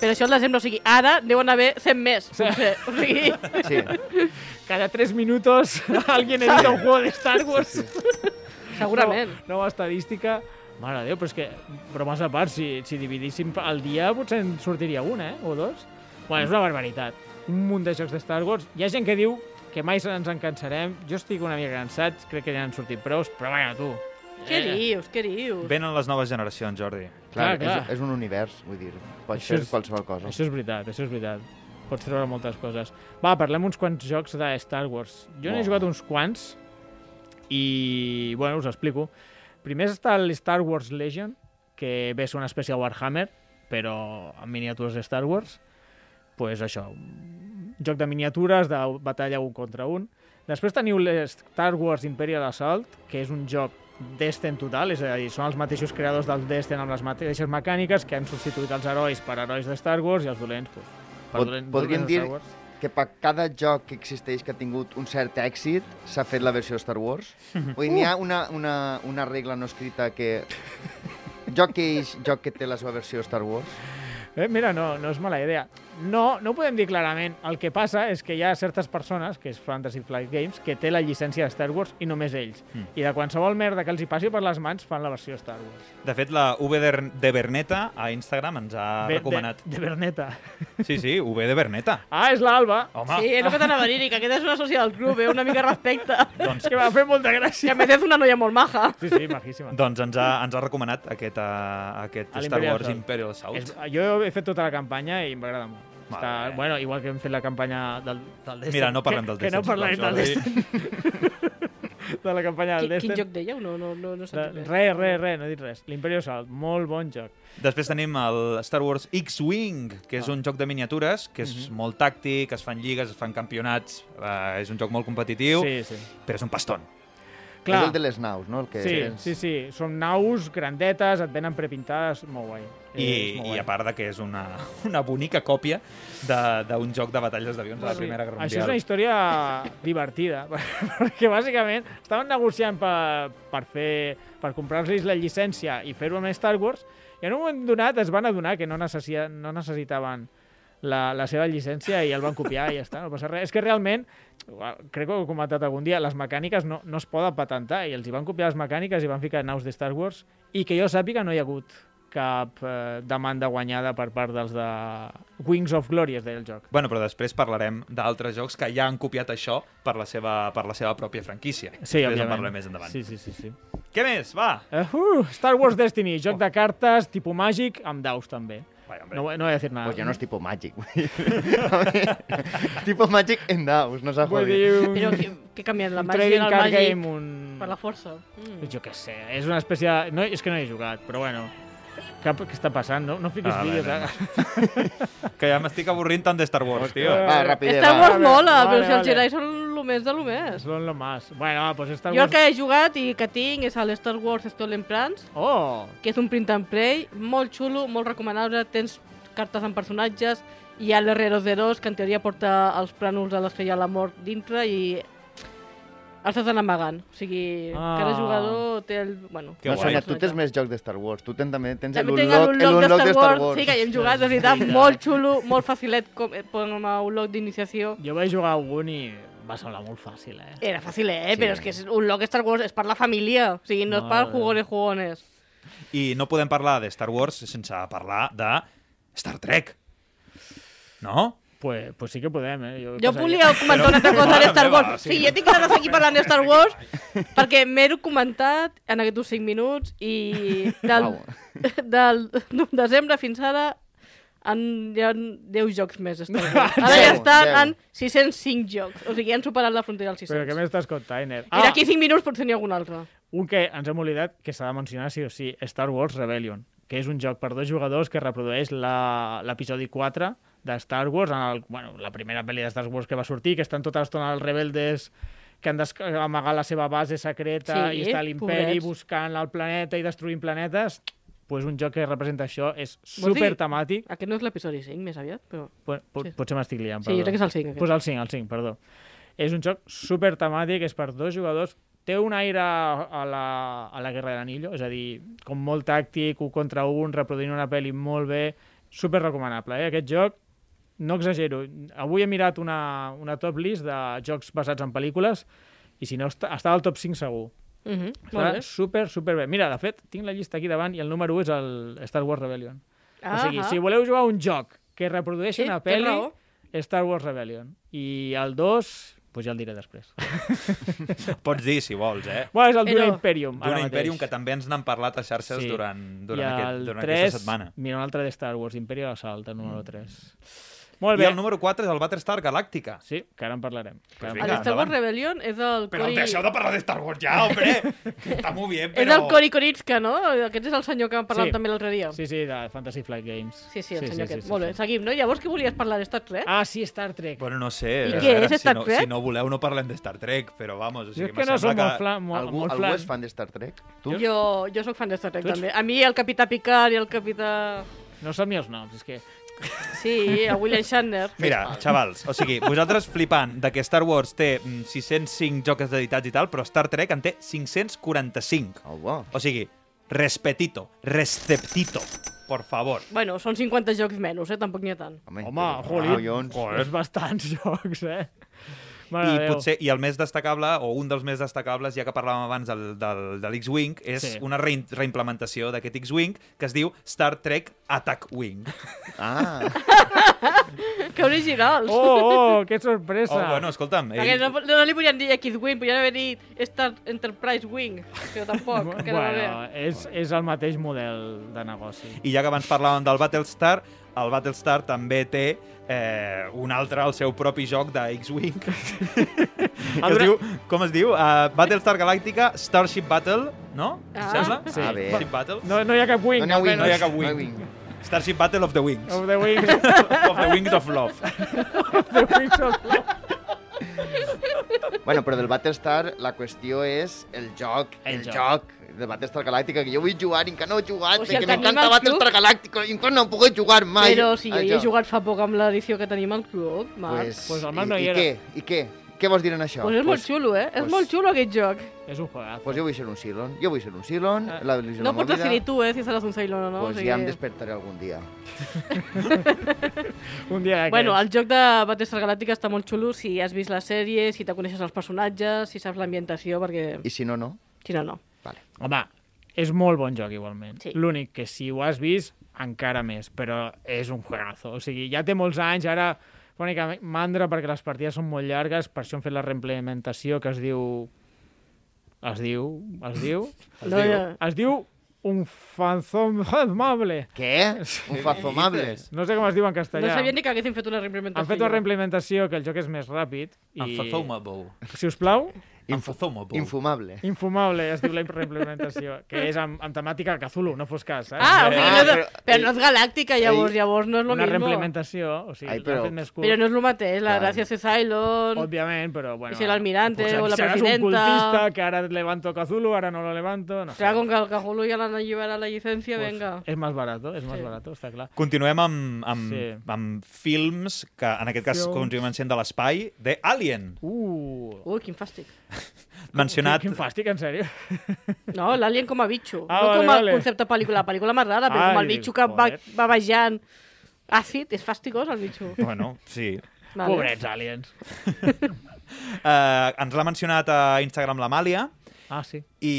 B: Però això al desembre, o sigui, ara deuen haver 100 més, potser. O sigui,
A: *laughs*
C: Sí.
A: Cada tres minutos alguien edita un juego de Star Wars.
B: segurament.
A: No, nova estadística. Mare de Déu, però és que, bromes a part, si, si dividíssim el dia potser en sortiria un, eh? O dos. Bueno, és una barbaritat. Un munt de jocs de Star Wars. Hi ha gent que diu que mai ens en cansarem. Jo estic una mica cansat, crec que ja n'han sortit prous, però vaja, tu. Eh,
B: Què dius, què dius?
D: Venen les noves generacions, Jordi.
C: Clar,
A: Clar, clar.
C: És, és un univers, vull dir. Pot
A: Això
C: ser
A: és-
C: qualsevol cosa.
A: Això és veritat, això és veritat. Pots treure moltes coses. Va, parlem uns quants jocs de Star Wars. Jo n'he
C: Molt.
A: jugat uns quants i, bueno, us explico. Primer està el Star Wars Legion, que ve a ser una espècie de Warhammer, però amb miniatures de Star Wars. pues això, un joc de miniatures, de batalla un contra un. Després teniu l'Star Wars Imperial Assault, que és un joc Destin total, és a dir, són els mateixos creadors del Destin amb les mateixes mecàniques que han substituït els herois per herois de Star Wars i els dolents, pues, per
C: Pod- podríem
A: de Star
C: dir
A: Wars.
C: que per cada joc que existeix que ha tingut un cert èxit s'ha fet la versió Star
A: *laughs*
C: Wars. Vull dir, n'hi ha una, una, una regla no escrita
A: *laughs*
C: que... Joc que és joc que té la seva versió Star Wars.
A: Eh, mira, no, no és mala idea. No, no ho podem dir clarament. El que passa és que hi ha certes persones, que és Fantasy Flight Games, que té la llicència de Star Wars i només ells. Mm.
D: Hmm.
A: I de qualsevol merda que els hi passi per les mans fan la versió Star Wars.
D: De fet, la V de, de Berneta a Instagram ens ha
A: Ve-
D: recomanat.
A: De, de Berneta.
D: Sí, sí, V de Berneta.
A: Ah, és l'Alba.
D: Home,
B: Sí, és el que t'anava a dir, que aquesta és una sòcia del club, eh? Una mica respecte.
A: Doncs que m'ha fet molta
B: Que a
A: gràcia.
B: més és una noia molt maja.
A: Sí, sí, majíssima.
D: doncs ens ha, ens ha recomanat aquest, uh, aquest
A: A
D: Star
A: l'Imperial
D: Wars
A: Assault.
D: Imperial Assault.
A: Doncs, És, jo he fet tota la campanya i m'agrada molt.
D: Vale.
A: Està, bueno, igual que hem fet la campanya del, del Destiny.
D: Mira, no parlem
A: que,
D: del
A: Que no
D: Destiny, Doncs
A: parlarem
D: sisplau,
A: del Destiny. de la campanya del
B: Quin, quin
A: Destiny.
B: joc deia? No, no, no, no
A: De,
B: sé res.
A: re, re, re, no he dit res. L'Imperio Salt, molt bon joc.
D: Després tenim el Star Wars X-Wing, que
A: Ah.
D: és un joc de miniatures, que és
A: Mhm.
D: molt tàctic, es fan lligues, es fan campionats, uh, és un joc molt competitiu,
A: Sí, sí.
D: però és un paston.
A: Clar,
C: És el de les naus, no? El que
A: sí, sí, sí. Són naus grandetes, et venen prepintades, molt guai.
D: I, i a part de que és una, *laughs* una bonica còpia de- d'un joc de batalles d'avions de la Primera Guerra
A: Això és
D: Mundial.
A: una història divertida, *laughs* perquè bàsicament estaven negociant per, per, fer- per comprar-los la llicència i fer-ho amb Star Wars, i en un moment donat es van adonar que no, necessia, no necessitaven la, la seva llicència i el van copiar i ja està, no passa res. És que realment, uau, crec que ho he comentat algun dia, les mecàniques no, no es poden patentar i els hi van copiar les mecàniques i van ficar naus de Star Wars i que jo sàpiga no hi ha hagut cap eh, demanda guanyada per part dels de Wings of Glory, es deia el joc.
D: Bueno, però després parlarem d'altres jocs que ja han copiat això per la seva, per la seva pròpia franquícia.
A: Sí,
D: després
A: òbviament.
D: en parlem més endavant.
A: Sí, sí, sí. sí.
D: Què més? Va!
A: Uh, uh, Star Wars Destiny, joc de cartes, tipus màgic, amb daus també.
D: Vaja, hombre.
A: No, no he de dir nada. Mm.
C: Pues jo no és tipus màgic. *laughs* tipus màgic en naus, no s'ha
A: Vull
C: jodit.
A: dir un,
B: Però que, que canvien la
A: un
B: màgia
A: trading
B: del
A: card
B: màgic
A: game, un...
B: per la força. Mm.
A: Jo què sé, és una espècie de... No, és que no he jugat, però bueno. Cap, què està passant? No, no fiquis
D: Ah,
A: vídeos. eh?
D: vale,
A: ara.
D: Que ja m'estic avorrint tant de Star Wars, tio.
A: Hòstia.
C: Va, ràpid,
B: Star Wars
A: Vale,
B: mola,
A: vale,
B: però si els
A: vale.
B: Jedi són el més de lo
A: *laughs*
B: més.
A: Són lo más. Bueno, va, pues Star
B: Jo el
A: Wars...
B: que he jugat i que tinc és el Star Wars Stolen Plans,
A: Oh!
B: que és un print and play molt xulo, molt recomanable, tens cartes amb personatges, hi ha l'R02, que en teoria porta els plànols de l'estrella de la mort dintre i els has d'anar amagant. O sigui,
A: Ah.
B: cada jugador té el... Bueno,
D: Que
C: no,
D: guai.
C: Sonia, tu tens més jocs de Star Wars. Tu tens, també tens
B: També tinc
C: l'unlock l'unlock de Star Wars.
B: Sí, que hi hem jugat, de veritat, molt xulo, molt facilet com, com a un loc d'iniciació.
A: Jo vaig jugar a un i va semblar molt fàcil, eh?
B: Era fàcil, eh? Sí. Però és que és un loc Star Wars és per la família. O sigui, no és per
A: Mare.
B: jugones jugones.
D: I no podem parlar de Star Wars sense parlar de Star Trek. No?
A: Pues, pues sí que podem, eh? Jo,
B: Jo
A: passaria-
B: volia comentar una altra cosa
D: Mare
B: de Star
D: meva,
B: Wars.
D: sí.
B: Sí, jo tinc quedat aquí parlant de Star Wars perquè m'he comentat en aquests 5 minuts i del,
C: Uau.
B: del desembre fins ara han, hi ha 10 jocs més. Star
D: *laughs*
B: Wars. Ara ja
C: Deu,
B: estan
C: deu.
B: en 605 jocs. O sigui, han superat la frontera dels
A: Però què
B: 600.
A: m'estàs contant, eh? Ah, Ner?
B: I d'aquí 5 minuts potser n'hi ha algun altre.
A: Un que ens hem oblidat, que s'ha de mencionar sí o sí, Star Wars Rebellion, que és un joc per dos jugadors que reprodueix la- l'episodi 4 de Star Wars, en el, bueno, la primera pel·li de Star Wars que va sortir, que estan tota l'estona els rebeldes que han d'amagar la seva base secreta
B: Sí,
A: i està l'imperi
B: pobrets.
A: buscant el planeta i destruint planetes. pues un joc que representa això és
B: Vols dir-
A: super temàtic.
B: Aquest no és l'episodi 5, més aviat, però...
A: Po po
B: Sí.
A: Potser m'estic liant,
B: Sí, jo crec que és el 5,
A: Pues
B: aquest.
A: el 5, el 5, perdó. És un joc super temàtic, és per dos jugadors, té un aire a la, a la Guerra de l'Anillo, és a dir, com molt tàctic, un contra un, reproduint una pel·li molt bé, super recomanable, eh? Aquest joc, no exagero, avui he mirat una, una top list de jocs basats en pel·lícules i si no, està, està al top 5 segur.
B: Uh -huh.
A: Està super, super bé. Mira, de fet, tinc la llista aquí davant i el número 1 és el Star Wars Rebellion. Ah o sigui, si voleu jugar a un joc que reprodueix
B: Sí,
A: una
B: té
A: pel·li,
B: raó.
A: Star Wars Rebellion. I el 2, doncs ja el diré després. *laughs*
D: Pots dir, si vols, eh?
A: bueno, és el Duna
B: Però-
A: Imperium. ara
D: Duna
A: mateix.
D: Imperium, que també ens n'han parlat a xarxes
A: Sí.
D: durant, durant,
A: I
D: aquest,
A: el
D: durant
A: 3,
D: aquesta setmana. Mm.
A: Mira, un altre de Star Wars, Imperial Assault, el número 3. Molt
D: I
A: bé.
D: el número 4 és el Battlestar Galàctica.
A: Sí, que ara en parlarem. Que ara en
D: vinga.
B: El
A: parlarem.
B: Star Wars
D: endavant.
B: Rebellion és el Cory...
D: de parlar de Star Wars
A: *laughs*
D: ja, hombre! Que està molt bé,
B: És el Cory Koritska, no? Aquest és el senyor que en parlàvem
A: Sí.
B: també l'altre dia. Sí.
A: Sí, sí, de Fantasy Flight Games.
B: sí, el senyor aquest. Molt bé, seguim, no? Llavors, què volies parlar de Star Trek?
A: Ah, sí, Star Trek.
D: Bueno, no sé.
B: I
D: a
B: què,
D: veure,
B: és Star
D: si no,
B: Trek?
D: Si no voleu, no parlem de Star Trek, però vamos... O
A: jo
D: sigui,
A: és que no som
D: m'assembla
A: molt, fla, molt,
C: Algú,
A: molt
C: algú
A: flans.
C: és fan de Star Trek? Tu?
B: Jo, jo sóc fan de Star Trek,
A: Tu ets-
B: també. A mi el Capità Picard i el Capità...
A: No som ni els noms, és que...
B: Sí, el William Shatner.
D: Mira, xavals, o sigui, vosaltres flipant de que Star Wars té mm, 605 jocs editats i tal, però Star Trek en té 545.
C: Oh, wow.
D: O sigui, respetito, receptito, por favor.
B: Bueno, són 50 jocs menys, eh? Tampoc n'hi ha tant.
C: Home,
A: Home,
C: Ah,
A: joli,
C: collons.
A: és bastants *laughs* jocs, eh?
D: I
A: Mare de Déu.
D: potser i el més destacable, o un dels més destacables, ja que parlàvem abans del, del, de l'X-Wing, és sí.
A: Sí.
D: una reim- reimplementació d'aquest X-Wing que es diu Star Trek Attack Wing.
C: Ah,
B: Que originals!
A: Oh, oh, que
D: Oh,
A: sorpresa!
D: bueno, escolta'm,
B: Perquè
D: ell,
B: no, no, li podien dir X-Wing, podien haver dit Star Enterprise Wing, però tampoc,
A: *laughs* Bu-
B: Oh, quedava bé.
A: bueno, eh, és, és el mateix model de negoci.
D: i ja que abans parlàvem del Battlestar, el Battlestar també té eh, un altre, el seu propi joc de
A: *laughs*
D: X-Wing, que es diu, com es diu? Uh, Battlestar Galactica Starship Battle, no?
B: Ah.
D: Sembla?
A: Sí.
C: Ah, bé.
D: Starship Battle?
A: No, no hi ha cap wing,
C: no n'hi ha wings.
D: no hi ha
A: almenys.
D: cap
C: no
D: wing. Starship Battle of the Wings.
A: Of the
C: *laughs*
A: wings,
D: of the Wings of Love.
A: the wings of love.
C: Bueno, però del Battlestar la qüestió és el joc, el,
A: El
C: el joc.
A: joc.
C: de Battlestar Galàctica, que jo vull jugar i encara no he jugat, o
B: O sigui,
C: sigui, que
B: el que anima
C: m'encanta
B: al
C: Battlestar
B: club-
C: Galàctica i encara no he pogut jugar mai.
B: Però si jo
C: al
B: hi he
C: joc.
B: jugat fa poc amb l'edició que tenim al club, Marc. Pues,
C: eh, Pues,
A: Pues el Marc no
C: i,
A: hi
C: i
A: era.
C: què? I què? Què vols dir en això?
B: pues és molt xulo, eh? Pues, és
C: pues-
B: molt xulo aquest joc.
A: És un juegazo.
C: pues jo vull ser un Cylon. Jo vull ser un Cylon.
A: Ah.
C: La il·lusió de
B: No
C: la
B: pots
C: movida,
B: decidir tu, eh, si seràs un Ceylon o no.
C: Pues ja em despertaré algun dia.
A: Un dia d'aquests.
B: Bueno, el joc de Battlestar Galàctica està molt xulo si has vist la sèrie, si te coneixes els personatges, si saps l'ambientació, perquè...
C: I si no, no.
B: Si no, no.
C: Vale.
A: Home, és molt bon joc igualment.
B: Sí.
A: L'únic que si ho has vist, encara més, però és un juegazo. O sigui, ja té molts anys, ara fa una mica mandra perquè les partides són molt llargues, per això hem fet la reimplementació que es diu... Es diu... Es diu...
B: No, no.
A: Es diu un fanzom amable.
C: Què? Un fazomable.
A: No sé com es diu en castellà.
B: No sabia ni que haguessin fet una reimplementació.
A: Han fet una reimplementació que el joc és més ràpid. I,
D: Unfathomable.
A: si us plau,
D: Unfathomable.
C: Infumable.
A: infumable es diu la reimplementació, que és amb, amb temàtica Cthulhu, no fos cas. Eh?
B: Ah, o sigui,
C: Ah,
B: no, però,
C: però-
B: però no és galàctica, llavors,
C: Ei,
B: llavors no és lo
A: una
B: mismo.
A: reimplementació, o sigui,
C: Ai,
A: l'han
C: però-
A: fet més curt,
B: Però no és el mateix, la
C: Clar.
B: gràcia és Cylon...
A: òbviament, però bueno...
B: I si l'almirante o la
A: seràs
B: presidenta.
A: un cultista que ara levanto Cthulhu, ara no lo levanto... No sé.
B: Serà com que el Cthulhu ja l'han alliberat la llicència,
A: Pues, eh.
B: venga.
A: És més barato, és més
B: Sí.
A: barato, està clar.
D: Continuem amb, amb, sí.
A: Sí.
D: amb films que, en aquest cas,
A: Films.
D: continuem sent de l'espai, de Alien.
A: Uh,
B: Ui, quin fàstic.
D: Mencionat...
A: quin fàstic, en sèrio.
B: No, l'alien com a bitxo.
A: Ah,
B: no
A: vale,
B: com a
A: vale.
B: concepte pel·lícula. La pel·lícula més rara, però
A: Ah,
B: com el
A: dic,
B: bitxo que va,
A: joder.
B: va bajant àcid. És fàsticós, el bitxo.
D: Bueno, sí.
B: Vale.
A: Pobrets aliens.
D: Uh, ens l'ha mencionat a Instagram l'Amàlia
A: Ah, sí.
D: i,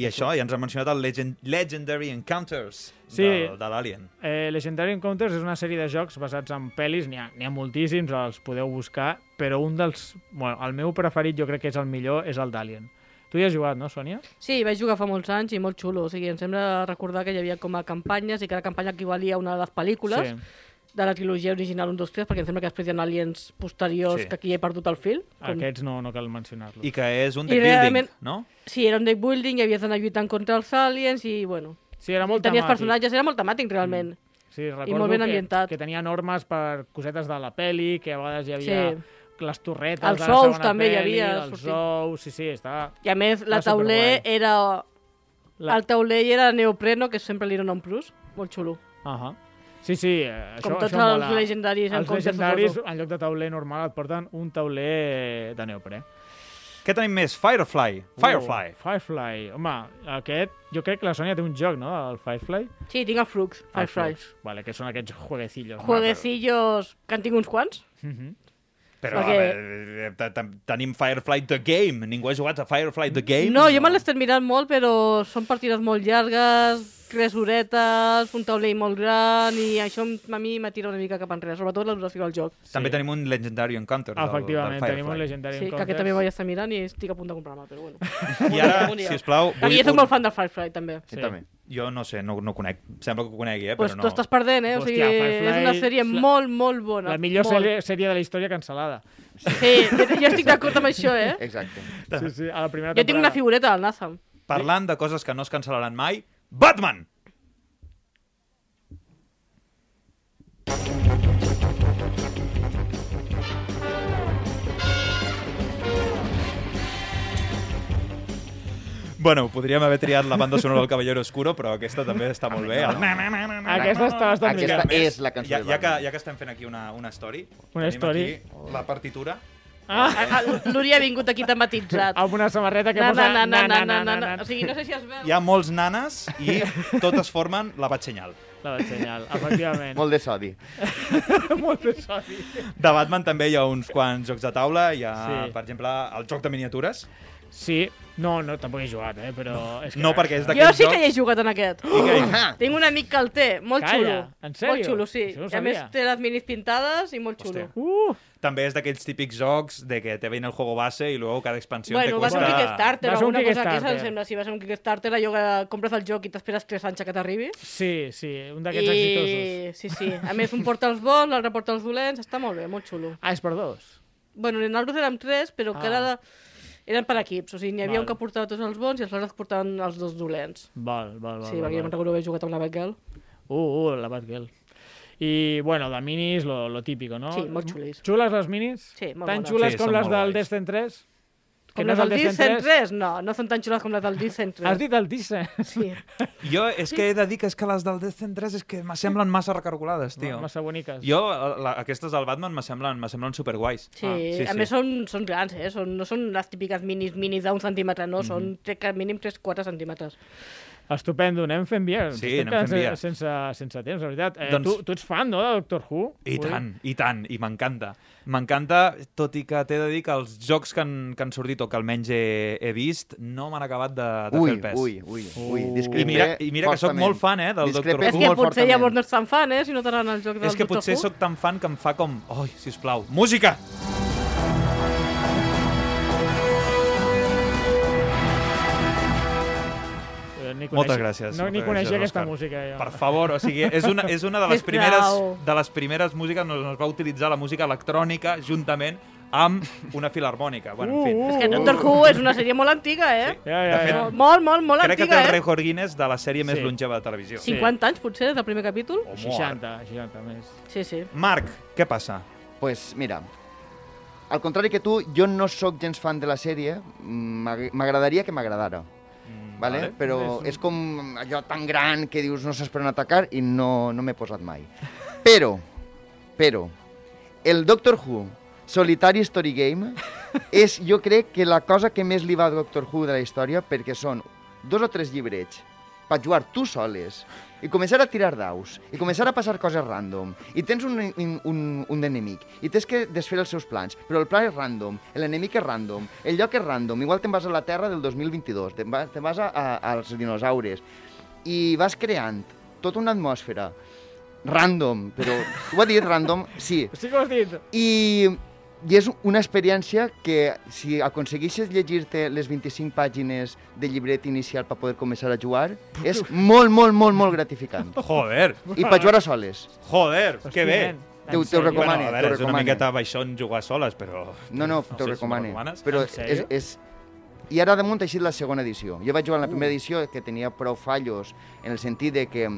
D: i això, i ens ha mencionat el Legend, Legendary Encounters
A: Sí.
D: de, de l'Alien.
A: Eh, Legendary Encounters és una sèrie de jocs basats en pel·lis, n'hi ha, n'hi ha moltíssims, els podeu buscar, però un dels... Bueno, el meu preferit, jo crec que és el millor, és el d'Alien. Tu hi has jugat, no, Sònia?
B: Sí, vaig jugar fa molts anys i molt xulo. O sigui, em sembla recordar que hi havia com a campanyes i cada campanya equivalia a una de les pel·lícules de la trilogia original 1, 2, 3, perquè em sembla que després hi ha aliens posteriors
D: Sí.
B: que aquí he perdut el fil. Com...
A: Aquests no, no cal mencionar-los.
D: I que és un
B: I
D: deck building,
B: realment-
D: no?
B: Sí, era un deck building i havies d'anar lluitant contra els aliens i, bueno,
A: Sí, era molt
B: tenies
A: temàtic.
B: personatges, era molt temàtic realment. Mm.
A: Sí, recordo
B: molt ben
A: que-
B: ambientat.
A: Que, tenia normes per cosetes de la peli, que a vegades hi havia
B: Sí.
A: les torretes
B: Els
A: de la
B: ous
A: segona
B: també hi
A: peli,
B: havia,
A: els
B: sortint.
A: ous, sí, sí, està...
B: I a més, la
A: Ah, superguai.
B: tauler era...
A: La-
B: La... El tauler era neopreno, que sempre li dona un plus. Molt xulo.
A: Uh -huh. Sí, sí, eh, això,
B: Com tots
A: això
B: els
A: mola.
B: legendaris en
A: Els
B: comptes,
A: legendaris,
B: suposo.
A: en lloc de tauler normal, et porten un tauler de neoprè.
D: Què tenim més? Firefly. Uh, Firefly.
A: Uh, Firefly. Home, aquest... Jo crec que la Sònia té un joc, no? El Firefly.
B: Sí, tinc el Frux,
A: El
B: Firefly.
A: Flux. Vale, que són aquests jueguecillos.
B: Jueguecillos, que en tinc uns quants.
D: Però,
B: Perquè-
D: a veure, eh, te- te- tenim Firefly The Game. Ningú ha jugat a Firefly The Game?
B: No, jo me l'estic mirant molt, però són partides molt llargues, tres horetes, un tauler molt gran, i això a mi m'atira una mica cap enrere, sobretot la duració del joc.
D: També tenim un Legendary Encounters del, del
A: Efectivament,
D: Firefly.
A: tenim un legendari
B: Sí,
A: en
B: que aquest
A: comptes.
B: també vaig estar mirant i estic a punt de comprar-me,
A: *laughs*
B: però bueno.
D: I ara,
B: Un dia.
D: sisplau,
B: A mi jo soc
D: un-
B: molt fan de Firefly, també.
C: Sí,
A: Sí.
C: també.
D: Jo no sé, no, no conec. Sembla que ho conegui, eh?
B: Pues
D: però
B: tu
D: no.
B: estàs perdent, eh? O sigui,
A: Hòstia, Firefly
B: és una sèrie
A: és la-
B: molt, molt bona.
A: La millor
B: molt.
A: sèrie, sèrie de la història cancel·lada.
B: Sí, jo estic d'acord amb això, eh?
C: Exacte.
A: Sí, sí, a la primera
B: Jo tinc
A: temporada.
B: una figureta del Nazam.
D: Parlant de coses que no es cancel·laran mai, Batman! Bueno, podríem haver triat la banda sonora del Caballero Oscuro, però aquesta també està molt bé. El na, na, na, na, na.
A: Aquesta està bastant
C: Aquesta
A: rica.
C: és la cançó
D: Ja,
C: de
D: ja, que,
C: Batman.
D: ja que estem fent aquí una, una story,
A: Una
D: tenim
A: story.
D: aquí la partitura.
A: Ah,
B: Ah, ah, Núria ha vingut aquí tematitzat.
A: amb una samarreta Ah, que
B: Na,
A: posa...
B: na, na, na, na, na, na, na. O sigui, no sé si es veu.
D: Hi ha molts nanes i totes formen la batxenyal.
A: La vaig senyal, efectivament.
C: Molt de sodi.
A: *laughs* Molt de sodi.
D: De Batman també hi ha uns quants jocs de taula. Hi ha,
A: Sí.
D: sí. per exemple, el joc de miniatures.
A: Sí, no, no, tampoc he jugat, eh, però... No, és que
D: No, perquè és
B: Jo
D: d'aquests
B: sí que hi
D: jocs...
B: he jugat en aquest.
C: Ah,
B: Tinc un amic que el té, molt
A: Calla,
B: xulo.
A: en sèrio?
B: Molt xulo, sí.
A: Això no ho
B: I a més
A: sabia.
B: té les minis pintades i molt xulo.
D: Hòstia.
A: Uh,
D: També és d'aquells típics jocs de que te ven el juego base i luego cada expansió
B: Bueno,
D: te
B: va ser un
D: cuesta...
B: Kickstarter
A: Va
B: o
A: ser un
B: alguna cosa que
A: Kickstarter.
B: se'n sembla. Si va ser un Kickstarter, allò que compres el joc i t'esperes 3 anys a que t'arribi.
A: sí, sí, un
B: I...
A: d'aquests I... exitosos.
B: Sí, sí. A més, un porta els bons, l'altre porta els dolents. Està molt bé, molt xulo.
A: Ah, és per dos.
B: Bueno, nosaltres érem 3, però ah.
A: Ah.
B: cada... Eren per equips, o sigui, n'hi
A: Val.
B: havia un que portava tots els bons i els altres portaven els dos dolents.
A: Val, val, val.
B: Sí,
A: val,
B: perquè jo me'n
A: val.
B: recordo haver jugat amb la Batgirl.
A: Uh, uh, la Batgirl. I, bueno, de minis, lo, lo típico, no?
B: Sí, molt xulis.
A: Xules les minis?
B: Sí, molt
A: Tan
B: bones.
A: xules
D: Sí,
A: com
D: són
A: les
D: molt
A: del
D: guais.
A: Descent 3?
B: Com
A: no
B: les
A: és el
B: del Disney 3? No, no són tan xules com les del Disney 3.
A: Has dit el Descent?
B: Sí.
D: Jo és que he de dir que és que les del Descent 3 és que me semblen massa recargolades, tio.
A: Massa boniques.
D: Jo, eh, la, aquestes del Batman me semblen, me semblen superguais.
B: Ah, Sí, a més són, són grans, eh? Són, no són les típiques minis, minis d'un centímetre, no, són crec que mínim 3-4 centímetres.
A: Estupendo, anem fent via.
D: Sí,
A: Estem
D: anem fent
A: quedant
D: via.
A: Sense, sense temps, la veritat. Eh,
D: Doncs-
A: tu, tu ets fan, no, de Doctor Who?
D: I
A: Ui.
D: tant, i tant, i m'encanta. M'encanta, tot i que t'he de dir que els jocs que han, que han sortit o que almenys he, he vist no m'han acabat de, de fer
C: Ui,
D: el pes.
C: ui, ui, ui,
A: Uh.
C: discrepé
D: I mira- i mira que sóc
C: fortament.
D: molt fan, eh, del Dr.
C: Discrepé
D: Who.
B: És
D: Algú
B: que
C: molt
B: potser
C: fortament.
B: llavors no ets tan fan, eh? Si no t'agraden el joc del
D: És que
B: Doctor
D: potser
B: Who.
D: sóc tan fan que em fa com... Ai, sisplau, música!
A: Eh, ni coneixia-
D: Moltes gràcies.
A: No, ni
D: moltes
A: coneixia
D: gràcies,
A: aquesta
D: Òscar.
A: música, jo.
D: Per favor, o sigui, és una, és una de, les
B: Sisplau.
D: primeres, de les primeres músiques on es va utilitzar la música electrònica juntament amb una filarmònica. Bueno, en fi.
B: És que Doctor Who és una sèrie molt antiga, eh?
A: Ja, ja,
D: De fet,
A: ja.
B: Molt, molt, molt, molt
D: Crec que té
B: antiga,
D: el
B: eh?
D: rècord Guinness de la sèrie més
A: Sí.
D: longeva de televisió.
A: Sí.
B: 50 anys, potser, des del primer capítol?
D: O mort.
A: 60, 60 més.
B: Sí, sí.
D: Marc, què passa?
C: Pues mira, al contrari que tu, jo no sóc gens fan de la sèrie, m'ag- m'agradaria que m'agradara, vale?
D: Mm, vale.
C: però és com allò tan gran que dius no saps per on atacar i no, no m'he posat mai. Però, però, el Doctor Who, Solitary Story Game, és jo crec que la cosa que més li va a Doctor Who de la història perquè són dos o tres llibrets per jugar tu soles i començar a tirar daus i començar a passar coses random i tens un, un, un, un enemic i tens que desfer els seus plans però el pla és random, l'enemic és random el lloc és random, igual te'n vas a la Terra del 2022 te'n vas, te vas a, a, als dinosaures i vas creant tota una atmosfera random, però ho ha dit random, sí,
A: Sí que ho has dit.
C: i, i és una experiència que si aconsegueixes llegir-te les 25 pàgines de llibret inicial per poder començar a jugar,
A: *laughs*
C: és molt, molt, molt, molt gratificant.
D: Joder,
C: I per jugar a soles.
D: joder, que bé.
C: Te ho- te ho
D: Bueno,
C: recomano.
D: a
C: t'ho
D: veure, és una
C: recomane.
D: miqueta baixón jugar soles, però...
C: No, no,
D: sé
C: t'ho
D: si
C: recomano.
D: m'ho recomanes.
C: Però
A: En
C: és,
A: sèrio?
C: és... I ara damunt ha eixit la segona edició. Jo vaig jugar en la
A: Uh.
C: primera edició que tenia prou fallos en el sentit de que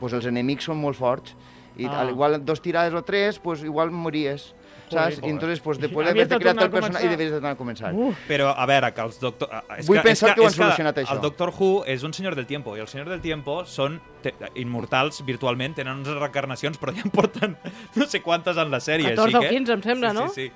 C: pues, els enemics són molt forts i
A: Ah.
C: ah. al igual dos tirades o tres, pues, igual mories.
A: Joder.
C: Saps? I entonces, pues,
A: I
C: de poder
A: havies
C: haver-te
A: de
C: creat
A: tornar
C: el
A: a
C: personatge i
A: començar.
C: d'haver de tornar a començar.
A: Uh,
D: Però, a veure, que els doctor... ah, És
C: Vull pensar que ho han
D: és
C: solucionat, això.
D: El Doctor Who és un senyor del tiempo, i el senyor del tiempo són te- immortals virtualment, tenen unes reencarnacions, però ja en porten *laughs* no sé quantes en la sèrie.
B: 14
D: així
B: o 15, em sembla,
D: sí,
B: no?
D: Sí, sí.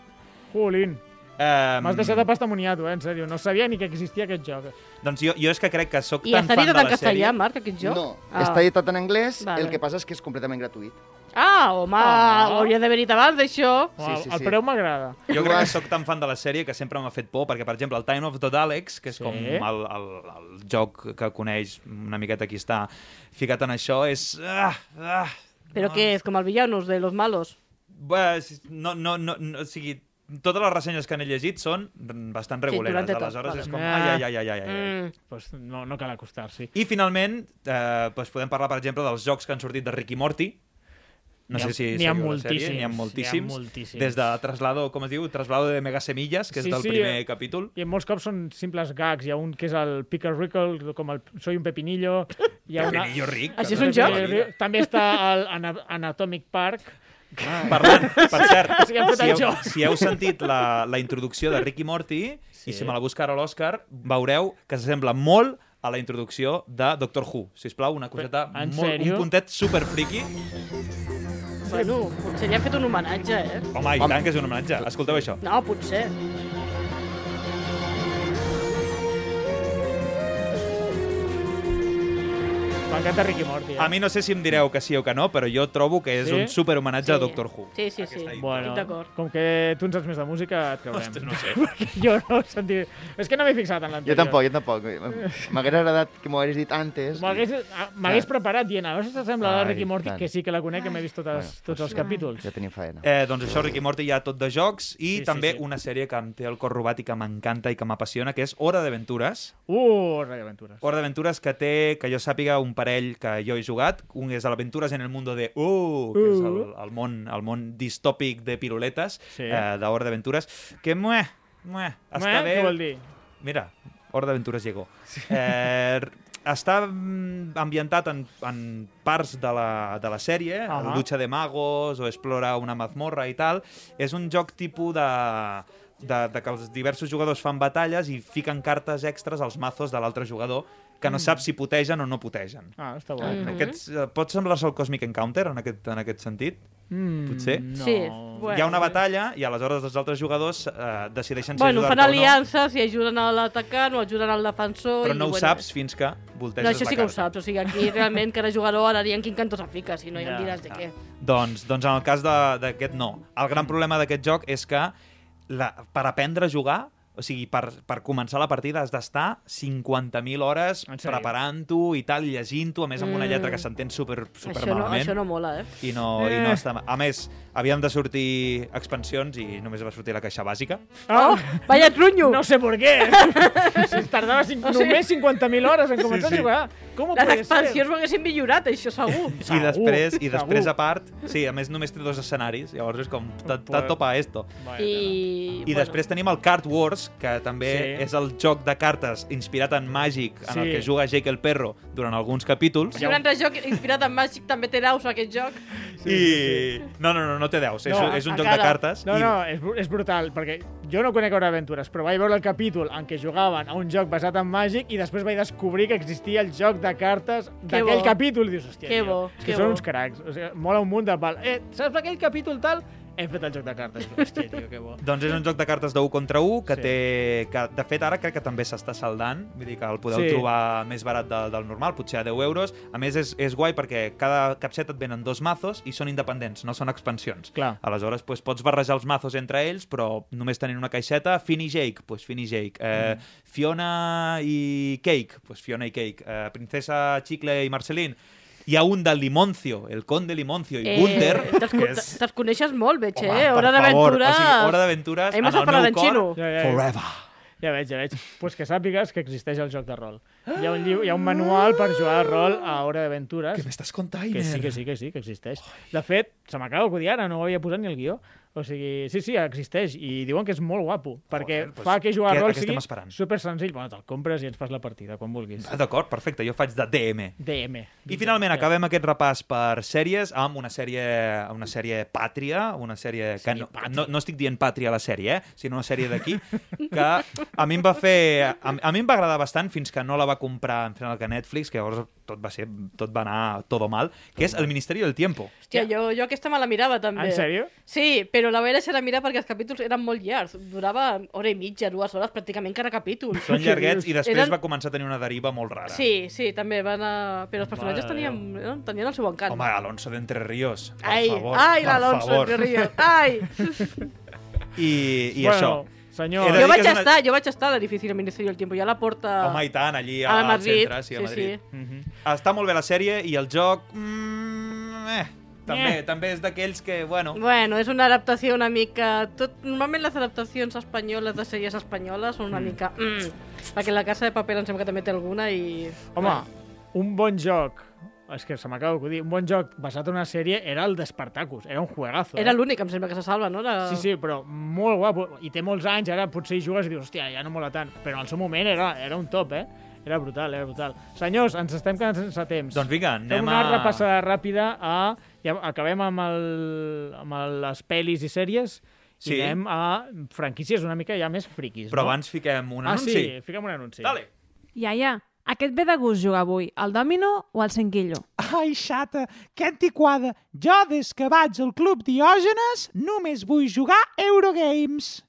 A: Jolín.
D: Um,
A: M'has deixat apastamoniat, eh, en sèrio. No sabia ni que existia aquest joc.
D: Doncs jo, jo és que crec que sóc
B: I
D: tan
B: està
D: fan de
B: editat en
D: la
B: castellà,
D: sèrie...
B: Marc, aquest joc?
C: No,
B: Ah.
C: està editat en anglès,
B: Vale.
C: el que passa és que és completament gratuït.
B: Ah, home,
A: Ah.
B: ho hauria d'haver dit abans, d'això.
A: Oh, sí,
C: sí,
A: el
C: sí.
A: preu m'agrada.
D: Jo crec que sóc tan fan de la sèrie que sempre m'ha fet por, perquè, per exemple, el Time of the Daleks, que és
A: Sí.
D: sí. com el, el, el joc que coneix una miqueta qui està ficat en això, és... Ah, ah,
B: Però
D: no,
B: què és, com el villanos de los malos?
D: Bé, és- no, no, no, no, o sigui, totes les ressenyes que n'he llegit són bastant reguleres.
B: durant de tot,
D: Aleshores és
B: vale.
D: com...
A: Ah.
D: Ai, ai, ai, ai, ai, ai. ai.
B: Mm.
A: Pues no, no cal acostar-s'hi.
D: I finalment, eh, doncs podem parlar, per exemple, dels jocs que han sortit de Ricky Morty. No
A: N'hi ha-
D: sé si
A: n'hi ha
D: seguiu la sèrie,
A: moltíssims,
D: N'hi ha moltíssims.
A: n'hi ha moltíssims.
D: Des de Traslado, com es diu? Traslado de Mega Semillas, que és
A: Sí,
D: del
A: sí,
D: primer
A: eh.
D: capítol.
A: I molts cops són simples gags. Hi ha un que és el Picker Rickle, com el Soy un pepinillo. Hi ha una...
D: Pepinillo ric.
B: Això és
D: que
B: un
D: no sé
B: joc?
D: la vida.
A: També està el Ana Anatomic Park,
D: Parlant, per cert,
A: Ah. O sigui, hem fet
D: si
A: el
D: heu,
A: joc.
D: si heu sentit la, la introducció de Ricky Morty, sí. i si me la busca ara l'Òscar, veureu que s'assembla molt a la introducció de Doctor Who. Si us plau, una coseta,
A: En
D: molt, un
A: sèrio?
D: puntet super friqui.
B: Bueno, potser li han fet un homenatge, eh?
D: Home, i
C: Home.
D: tant que és un homenatge. Escolteu això.
B: No, potser.
A: M'encanta Ricky Morty. Eh?
D: A mi no sé si em direu que sí o que no, però jo trobo que és
A: Sí?
D: un super homenatge
B: Sí.
D: a Doctor Who.
B: Sí, sí, sí.
D: Aquesta
A: Bueno,
B: Estic d'acord.
A: com que tu en saps més de música, et creurem.
D: Ostres, no sé.
A: *laughs* Perquè jo no ho sentit... És que no m'he fixat en
C: Jo
A: l'anterior.
C: tampoc, jo tampoc. M'hagués agradat que m'ho hagués dit antes.
A: M'hagués ah, m'hagués preparat dient, a veure si s'assembla a la
C: Ai,
A: Ricky Morty,
C: tant.
A: que sí que la conec, que m'he vist totes,
C: Bueno,
A: tots els capítols.
C: Ja tenim faena.
D: Eh, doncs això, Ricky Morty hi ha tot de jocs
A: Sí,
D: i
A: sí,
D: també
A: sí.
D: una sèrie que em té el cor robat i que m'encanta i que m'apassiona, que és Hora d'Aventures.
A: Uh, Radio Aventures.
D: Hora d'Aventures que té, que jo sàpiga, un parell que jo he jugat. Un és Aventures en el mundo de... Uh, que és el, el, món, el món distòpic de piruletes
A: Sí.
D: sí. eh, d'Hora d'Aventures. Que mueh, mueh, està
A: Eh,
D: bé...
A: Què vol dir?
D: Mira, Hora d'Aventures llegó. Eh, està mm, ambientat en, en parts de la, de la sèrie, uh
A: Ahà.
D: -huh. Lucha de Magos o Explora una mazmorra i tal. És un joc tipus de, de, de que els diversos jugadors fan batalles i fiquen cartes extres als mazos de l'altre jugador que
B: Mm.
D: no sap si putegen o no putegen.
A: Ah, està guai.
B: Mm-hmm.
D: Mm -hmm. Aquests, eh, pot semblar-se al Cosmic Encounter en aquest, en aquest sentit?
A: Mm,
D: Potser.
A: No.
B: Sí,
D: Bueno,
B: Bueno,
D: Hi ha una
B: sí.
D: batalla i aleshores els altres jugadors eh, decideixen si
B: Bueno,
D: ajudar-te
B: fan
D: o no.
B: aliances i ajuden a l'atacant o ajuden al defensor.
D: però
B: i,
D: no ho
B: bueno,
D: saps fins que volteges
B: No, això sí
D: la
B: que ho
D: carta.
B: saps, o sigui, aquí realment cada jugador ara diria en quin cantó se fica, si no ja
A: Ja,
B: em diràs de
D: ja.
B: què.
D: Doncs, doncs en el cas de- d'aquest no. El gran problema d'aquest joc és que la, per aprendre a jugar, o sigui, per, per començar la partida has d'estar 50.000 hores
A: En sèrio?
D: preparant-ho i tal, llegint-ho, a més amb una
B: Mm.
D: lletra que s'entén super, super
B: Això no,
D: malament.
B: això no mola, eh?
D: I no, i no està... A més, havien de sortir expansions i només va sortir la caixa bàsica.
B: Oh, vaya trunyo!
A: Ah, No sé per què.
B: *laughs*
A: Si es tardava cinc,
B: No sé.
A: només 50.000 hores en començar
E: Sí, sí.
A: a jugar. Com ho
B: Les
A: podia
B: expansions ho haguessin millorat, això segur.
D: I després, i
A: segur.
D: després a part... Sí, a més només té dos escenaris, llavors és com... te- te topa esto.
A: ser?
B: I,
D: I després tenim el Card Wars, que també
A: Sí.
D: sí. és el joc de cartes inspirat en Magic, en el
A: Sí.
D: que juga Jake el Perro durant alguns capítols.
B: Si un altre joc inspirat en Magic també té daus aquest joc.
D: I... No, no, no, no té deus. No,
A: No,
D: és, és un joc
B: encara.
D: de cartes.
A: No,
D: i...
A: no, és, bru- és brutal, perquè jo no conec Hora Aventures, però vaig veure el capítol en què jugaven a un joc basat en màgic i després vaig descobrir que existia el joc de cartes d'aquell
B: bo.
A: capítol. I dius, hòstia,
B: Que
A: tio,
B: bo,
A: és
B: que
A: que són
B: bo.
A: uns cracs. O sigui, mola un munt de pal. Eh, saps aquell capítol tal? Hem fet el joc de cartes. Hòstia, tio, que bo.
D: Doncs és un joc de cartes d'1 contra 1 que
A: Sí.
D: sí. té... Que, de fet, ara crec que també s'està saldant. Vull dir que el podeu
A: Sí.
D: sí. trobar més barat de, del normal, potser a 10 euros. A més, és, és guai perquè cada capset et venen dos mazos i són independents, no són expansions.
A: Clar.
D: Aleshores, doncs, pots barrejar els mazos entre ells, però només tenint una caixeta. Finn i Jake, doncs Finn i Jake. Eh,
A: Mhm.
D: Fiona i Cake, doncs Fiona i Cake. Eh, princesa Chicle i Marceline. Hi ha un de Limoncio, el conde Limoncio i eh, Gunther,
B: te'ls
D: que
B: con-
D: és...
B: Te'ls coneixes molt, veig,
D: Home,
B: eh? Hora
D: per favor,
B: d'aventures...
D: O sigui, Hora d'aventures,
B: A mi
D: en
B: m'ha
D: el
B: sort parlant
D: meu
B: en
D: cor,
B: xino.
A: Ja, ja, ja,
D: forever.
A: ja veig, ja veig. Pues que sàpigues que existeix el joc de rol. Hi ha un, llibre, hi ha un manual per jugar a rol a Hora d'Aventures.
D: Què m'estàs contant,
A: Que sí, que sí, que sí, que existeix. De fet, se m'acaba d'acudir ara, no ho havia posat ni el guió. O sigui, sí, sí, existeix, i diuen que és molt guapo, perquè
D: doncs,
A: fa que jugar a
D: què-
A: rol
D: a què estem
A: sigui
D: esperant?
A: super senzill. Bueno, te'l compres i ens fas la partida, quan vulguis.
D: Ah, D'acord, perfecte, jo faig de DM.
A: DM.
D: I finalment acabem aquest repàs per sèries amb una sèrie, una sèrie pàtria, una sèrie que no, no, no estic dient pàtria a la sèrie, eh? sinó una
A: *laughs*
D: sèrie d'aquí, que a mi em va fer... A, a mi em va agradar bastant fins que no la va comprar en final que Netflix, que llavors tot va ser tot va anar todo mal, que és El Ministeri del Tiempo.
B: Hòstia, jo, jo aquesta me la mirava, també.
A: En sèrio?
B: Sí, però la vaig deixar de mirar perquè els capítols eren molt llargs. Durava hora i mitja, dues hores, pràcticament cada capítol.
D: Són llarguets i després
B: Eren-
D: va començar a tenir una deriva molt rara.
B: Sí, sí, també van a... Però els personatges
A: Mare de
B: tenien, no? tenien el seu encant.
D: Home, Alonso de Entre Ríos, per
B: ai,
D: favor.
B: ai,
D: per
B: l'Alonso
D: favor.
B: Entre Ríos, ai!
D: I, i
A: bueno,
D: això.
A: Senyor,
D: He de
B: jo
D: dir
B: vaig
D: que és una-
B: estar, jo vaig estar a l'edifici del Ministeri del Tiempo, ja la porta
D: Home, i tant, allí
B: ah. a
D: al
B: Madrid.
D: centre, sí, a
B: sí,
D: Madrid.
B: sí.
A: Mhm.
D: Està molt bé la sèrie i el joc... Mm, eh, també, també és d'aquells que, bueno...
B: Bueno, és una adaptació una mica... Tot... Normalment les adaptacions espanyoles de sèries espanyoles són una mm. mica... Mm, perquè la Casa de Paper em sembla que també té alguna i...
A: home, un bon joc és que se m'acaba d'acudir. Un bon joc basat en una sèrie era el d'Espartacus. Era un juegazo. eh?
B: Era l'únic, em sembla, que se salva, no? Era...
A: Sí, sí, però molt guapo. I té molts anys, ara potser hi jugues i dius, hòstia, ja no mola tant. Però en el seu moment era, era un top, eh? Era brutal, era brutal. Senyors, ens estem quedant sense temps.
D: Doncs vinga,
A: Fem
D: anem
A: una
D: a...
A: repassada ràpida a Ja acabem amb, el, amb les pel·lis i sèries sí.
D: Sí.
A: i anem a franquícies una mica ja més friquis.
D: Però
A: no?
D: abans fiquem un
A: Ah,
D: anunci.
A: sí, fiquem un anunci.
D: Dale.
F: Iaia, aquest ve de gust jugar avui, al dòmino o al senquillo?
G: Ai, xata, que antiquada. Jo, des que vaig al Club Diògenes, només vull jugar Eurogames.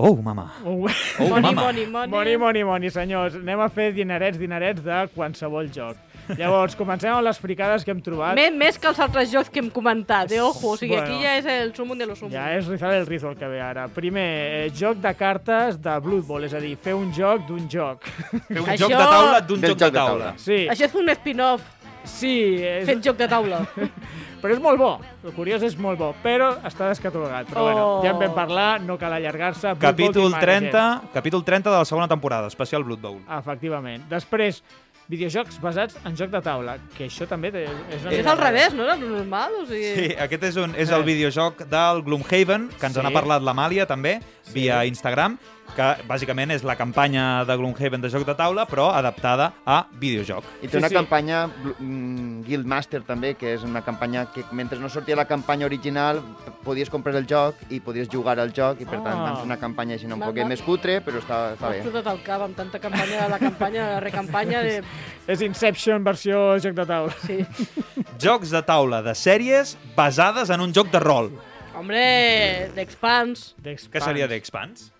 D: Oh, mama.
A: Un-
D: Oh,
B: Money,
D: mama.
B: money, money.
A: Moni, moni, moni, senyors. Anem a fer dinerets, dinerets de qualsevol
D: *laughs*
A: joc. Llavors, comencem amb les fricades que hem trobat.
B: Més, més que els altres jocs que hem comentat, eh? Ojo, o sigui,
A: Bueno.
B: aquí ja és el sumum de los sumum.
A: Ja és rizar el rizo el que ve ara. Primer, eh, joc de cartes de Blood Bowl, és a dir, fer un joc d'un joc. *laughs*
D: Fer un
B: Això-
D: joc de taula d'un
C: Del
D: joc de taula.
A: Sí,
B: Això és un spin-off,
A: sí, és,
B: fet joc de taula.
A: *laughs* però és molt bo. El curiós és molt bo, però està descatalogat. Però
B: Oh.
A: bueno, ja en vam parlar, no cal allargar-se. Blood Bowl
D: Capítol
A: Team Manager.
D: 30, capítol 30 de la segona temporada, especial Blood Bowl.
A: Efectivament. Després, videojocs basats en joc de taula, que això també té- és una
B: és
A: mica
B: al revés, no era lo normal? O sigui...
D: Sí, aquest és, un, és el videojoc del Gloomhaven, que ens
A: Eh, Sí.
D: n'ha parlat l'Amàlia també,
A: Sí.
D: via Instagram, que bàsicament és la campanya de Gloomhaven de joc de taula, però adaptada a
A: *laughs*
D: videojoc.
C: I té
A: Sí,
C: sí, una sí.
A: sí.
C: campanya bl- mm, Guildmaster també, que és una campanya que mentre no sortia la campanya original p- podies comprar el joc i podies jugar al joc i per tant
A: Ah.
C: van fer una campanya així una un
B: M'ha
C: poquet
B: anat-
C: més cutre, però està, està
B: M'ha
C: bé.
B: explotat el cap amb tanta campanya, la campanya, la recampanya... De...
A: És Inception versió joc de taula.
B: Sí.
D: Jocs de taula de sèries basades en un joc de rol.
B: Hombre, d'expans.
D: Què seria d'Expanse?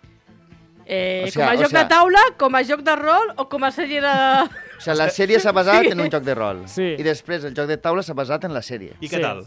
B: Eh,
C: O sea,
B: com a
C: o
B: joc
C: sea-
B: de taula, com a joc de rol o com a sèrie de...
C: O sigui, la sèrie s'ha basat en un joc de rol.
A: Sí.
C: I després el joc de taula s'ha basat en la sèrie.
D: I què
A: Sí.
D: tal?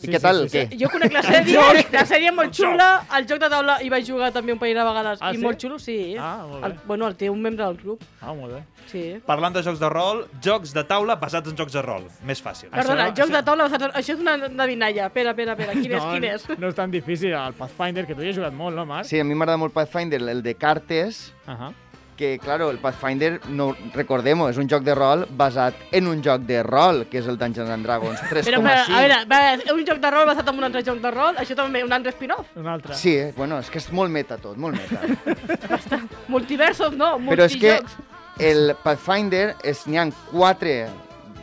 C: I què tal, què?
B: Jo conec la sèrie, la sèrie molt xula, el joc de taula hi vaig jugar també un parell de vegades.
A: Ah,
B: I
A: sí?
B: molt xulo, sí.
A: Ah, molt bé.
B: el, bueno, el té un membre del grup,
A: Ah, molt bé.
B: sí.
D: Parlant de jocs de rol, jocs de taula basats en jocs de rol. Més fàcil.
A: Ah,
B: Perdona,
A: Això-
B: jocs de
A: això-
B: taula... basats en- Això és una endevinalla. Espera, espera, espera. Quin és, quin és?
A: No és tan difícil. El Pathfinder, que tu hi has jugat molt, no, Marc?
C: Sí, a mi m'agrada molt Pathfinder, el de cartes,
A: Uh -huh.
C: que, claro, el Pathfinder, no, recordem-ho, és un joc de rol basat en un joc de rol, que és el Dungeons and Dragons 3,5.
B: Però, però, a veure, va, un joc de rol basat en un altre joc de rol, això també, un altre spin-off.
A: Un altre.
C: Sí, eh? bueno, és que és molt meta tot, molt meta.
B: *laughs* Multiversos, no,
C: Però és que
B: multijocs.
C: el Pathfinder és n'hi ha quatre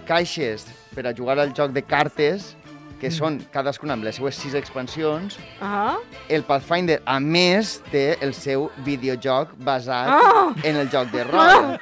C: caixes per a jugar al joc de cartes,
B: Mm.
C: que són cadascuna amb les seues sis expansions.
B: Ah,
C: El Pathfinder, a més, té el seu videojoc basat
B: Ah!
C: en el joc de rol.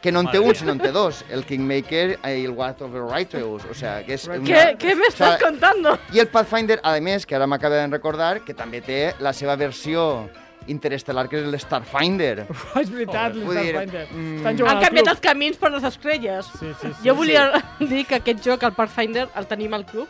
C: Que no en té
D: Madre
C: un,
D: mía.
C: sinó en té dos. El Kingmaker i el What of the Righteous. O sea, que és una...
B: què, què m'estàs
C: O sea,
B: contando?
C: I el Pathfinder, a més, que ara m'acaba de recordar, que també té la seva versió interestel·lar, que és el Starfinder.
A: Oh, *laughs* és veritat,
C: Vull dir,
A: l'Starfinder.
C: mm,
A: Estan jugant
B: Han
A: al
B: canviat
A: club.
B: els camins per les estrelles.
A: Sí, sí, sí.
B: Jo volia dir que aquest joc, el Pathfinder, el tenim al club.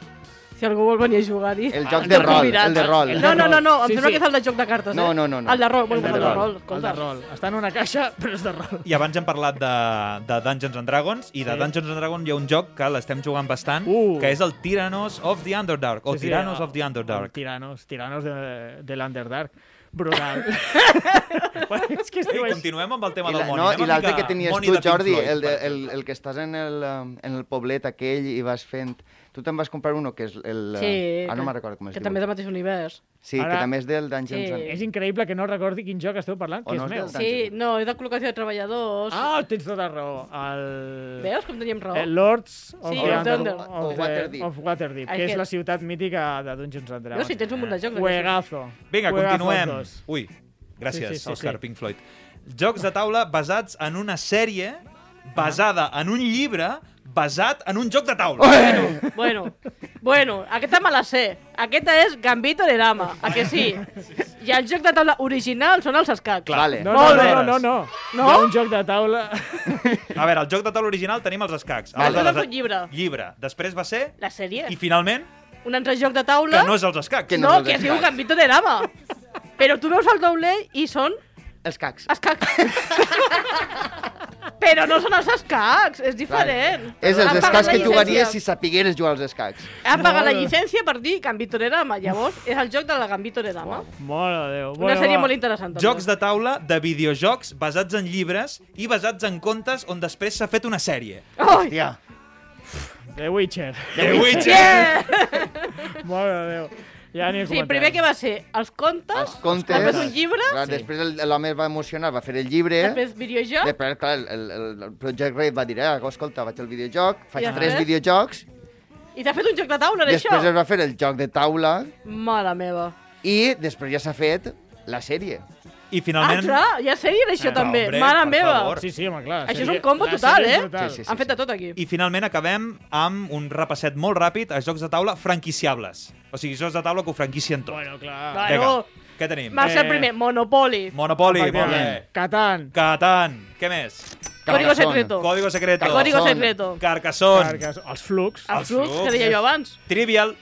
B: Si algú vol venir a jugar-hi.
C: El
A: joc
C: joc
A: de
C: de
B: Estan
C: rol,
B: convidats.
C: el de rol.
A: el
B: No, no, no, no, em
A: Sí,
B: sembla
A: sí.
B: que és el de joc de cartes, eh?
C: No, no, no, no.
B: El de rol, bueno,
C: El
B: el
C: de
B: de rol.
C: rol.
A: El de rol. Està en una caixa, *laughs* però és de rol.
D: I abans hem parlat de, de Dungeons and Dragons, i de
A: Sí.
D: Dungeons and Dragons hi ha un joc que l'estem jugant bastant,
A: Uh.
D: que és el Tyrannos of the Underdark, o
A: Sí, sí,
D: Tyrannos
A: el-
D: of the
A: el
D: Underdark.
A: Tiranos, Tiranos de, de l'Underdark. Brutal.
C: *laughs*
A: Bueno, és que es
D: I
A: diu així.
D: continuem amb el tema
C: I
D: del
C: la-
D: Moni.
C: no,
D: Anem a
C: I l'altre
D: ficar
C: que tenies
D: Moni
C: tu,
D: de Pink
C: Jordi,
D: Floyd,
C: el, de,
D: perquè-
C: el, el que estàs en el, um, en el poblet aquell i vas fent... Tu te'n vas comprar uno que és el...
B: Sí,
C: uh, ah, no
B: que-
C: me'n recordo com es
B: Que
C: diu.
B: també és del mateix univers.
C: Sí,
A: Ara-
C: que també és del Dungeons
B: Sí.
A: És
C: and...
A: increïble que no recordi quin joc esteu parlant,
C: O
A: que
C: no
A: és
C: és
A: meu.
C: del
B: Sí, no, és de col·locació de treballadors.
A: Ah, tens tota raó. El...
B: Veus com teníem raó?
A: Eh, Lords of,
B: Sí,
A: the
B: of
A: Under-
B: Thunder.
A: of,
C: Of
A: the-
C: Waterdeep.
A: of Waterdeep,
B: Ai,
A: que és
B: que-
A: la ciutat mítica de Dungeons and Dragons.
B: No, si tens un munt de jocs.
A: Juegazo.
D: Vinga,
A: Juegazo
D: continuem.
A: els dos.
D: Ui, gràcies,
A: Sí, sí, sí, sí.
D: Òscar Pink Floyd. Jocs de taula basats en una sèrie basada en un llibre basat en un joc de taula.
B: Bueno, bueno, aquesta me la sé. Aquesta és Gambito de Dama, a
A: *laughs*
B: que sí? I el joc de taula original són els escacs.
C: Clar. Vale.
A: No, no,
B: Molt
A: no,
B: bé.
A: no, no, no.
B: No?
A: Hi ha un joc de taula... *laughs*
D: A veure, el joc de taula original tenim els escacs.
B: Vale.
D: Aleshores,
B: Després un llibre.
D: Llibre. Després va ser...
B: La sèrie.
D: I finalment,
B: Un altre joc de taula...
D: que no és els escacs.
C: Que
B: no,
C: no és
B: que
C: els
B: es diu
C: escacs.
B: Gambito de Dama. Però tu veus el taulell i són
C: Els cacs. *laughs*
B: Ah, escacs. Però no són els escacs, és diferent.
C: És
B: Han
C: els
B: pagat
C: escacs
B: la
C: que
B: llicència.
C: jugaries si sapigueres jugar als escacs.
B: Han pagat
A: No,
B: la
A: no.
B: llicència per dir Gambito de Dama. Llavors, és el joc de la Gambito de Dama.
A: Mare de Déu.
B: Una sèrie molt interessant. també.
D: Jocs de taula de videojocs basats en llibres i basats en contes on després s'ha fet una sèrie.
B: Ai,
C: Hòstia.
A: The Witcher. *laughs*
D: The Witcher!
B: yeah!
A: Mare de Déu. Ja ni
B: eh, Sí, primer que va ser els contes,
C: Els contes...
B: Ah, després un llibre,
C: Clar,
D: Sí.
C: Després el- l'home es va emocionar, va fer el llibre...
B: després videojoc,
C: Després, clar, el, el, el Project Red va dir, eh, escolta, vaig al videojoc, faig
B: I després?
C: tres videojocs,
B: i t'ha fet un joc de taula, d'això?
C: després es va fer el joc de taula
B: Mare meva.
C: i després ja s'ha fet la sèrie.
D: I
B: Ah,
D: finalment...
B: clar, ja seria això
D: Ah,
B: també.
D: hombre,
B: Mare
D: per
B: meva.
D: favor.
A: Sí, sí, home, clar.
B: Això és
A: seria-
B: un combo
A: la
B: total,
A: sèrie és
B: eh?
A: brutal.
C: Sí, sí,
B: Han fet de tot aquí.
D: I finalment acabem amb un repasset molt ràpid a jocs de taula franquiciables. O sigui, jocs de taula que ho franquicien tot.
A: Bueno, clar.
B: Clar.
D: Vinga,
B: Bueno.
D: què tenim?
B: Va ser
A: Eh,
B: el primer, Monopoly.
D: Monopoly, molt bé.
A: Efectivament. Catan.
D: Catan, què més?
B: Código
C: Carcassonne.
B: secreto.
D: Código secreto.
B: Código
C: Carcassonne.
B: secreto.
D: Carcassonne.
A: Carques, els flux.
D: Els
B: Els flux,
D: flux,
B: que deia
D: és-
B: jo abans.
D: Trivial.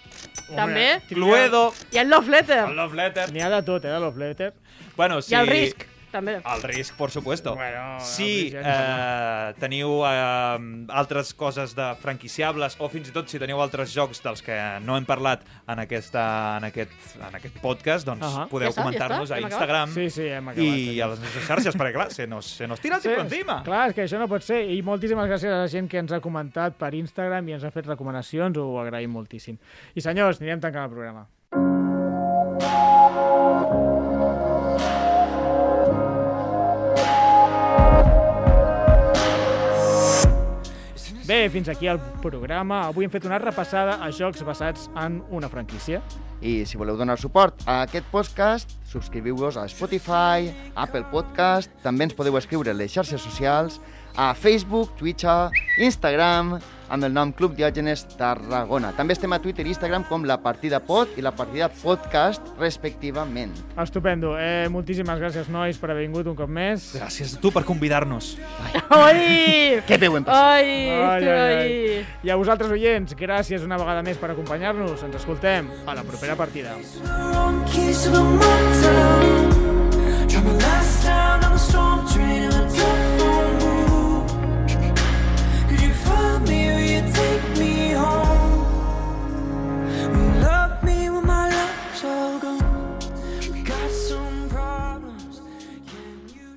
B: Ah, També.
D: Cluedo.
B: I el Love Letter.
D: El Love Letter.
A: N'hi ha de tot, eh, de Love Letter.
D: Bueno, si...
B: I el Risk, també.
D: El risc, por supuesto.
A: Bueno,
D: si
A: el risc ja
D: eh, teniu eh, altres coses de franquiciables o fins i tot si teniu altres jocs dels que no hem parlat en, aquesta, en, aquest, en aquest podcast, doncs
A: Ahà.
D: podeu
B: Ja està, ja
D: comentar-nos
B: està,
D: a
B: hem acabat.
D: Instagram
A: Sí, sí, hem acabat. eh.
D: i a les nostres xarxes, perquè clar, se nos, se nos tira el sí, encima.
A: Clar, és que això no pot ser. I moltíssimes gràcies a la gent que ens ha comentat per Instagram i ens ha fet recomanacions, ho agraïm moltíssim. I senyors, anirem tancant el programa. Bé, fins aquí el programa. Avui hem fet una repassada a jocs basats en una franquícia.
C: I si voleu donar suport a aquest podcast, subscriviu-vos a Spotify, Apple Podcast, també ens podeu escriure a les xarxes socials, a Facebook, Twitter, Instagram, amb el nom Club Diògenes Tarragona. També estem a Twitter i Instagram com La Partida Pod i La Partida Podcast, respectivament.
A: Estupendo. Eh, moltíssimes gràcies, nois, per haver vingut un cop més.
D: Gràcies a tu per convidar-nos.
B: Ai!
C: Què veuen passar?
B: Ai,
A: Ai, ai, ai.
B: ai.
A: I a vosaltres, oients, gràcies una vegada més per acompanyar-nos. Ens escoltem a la propera partida.
H: Wrong keys to the motel. Tried my last time on a storm train and a telephone booth. Could you find me? Will you take me home? Will you love me when my love's all gone? We've got some problems. Can you?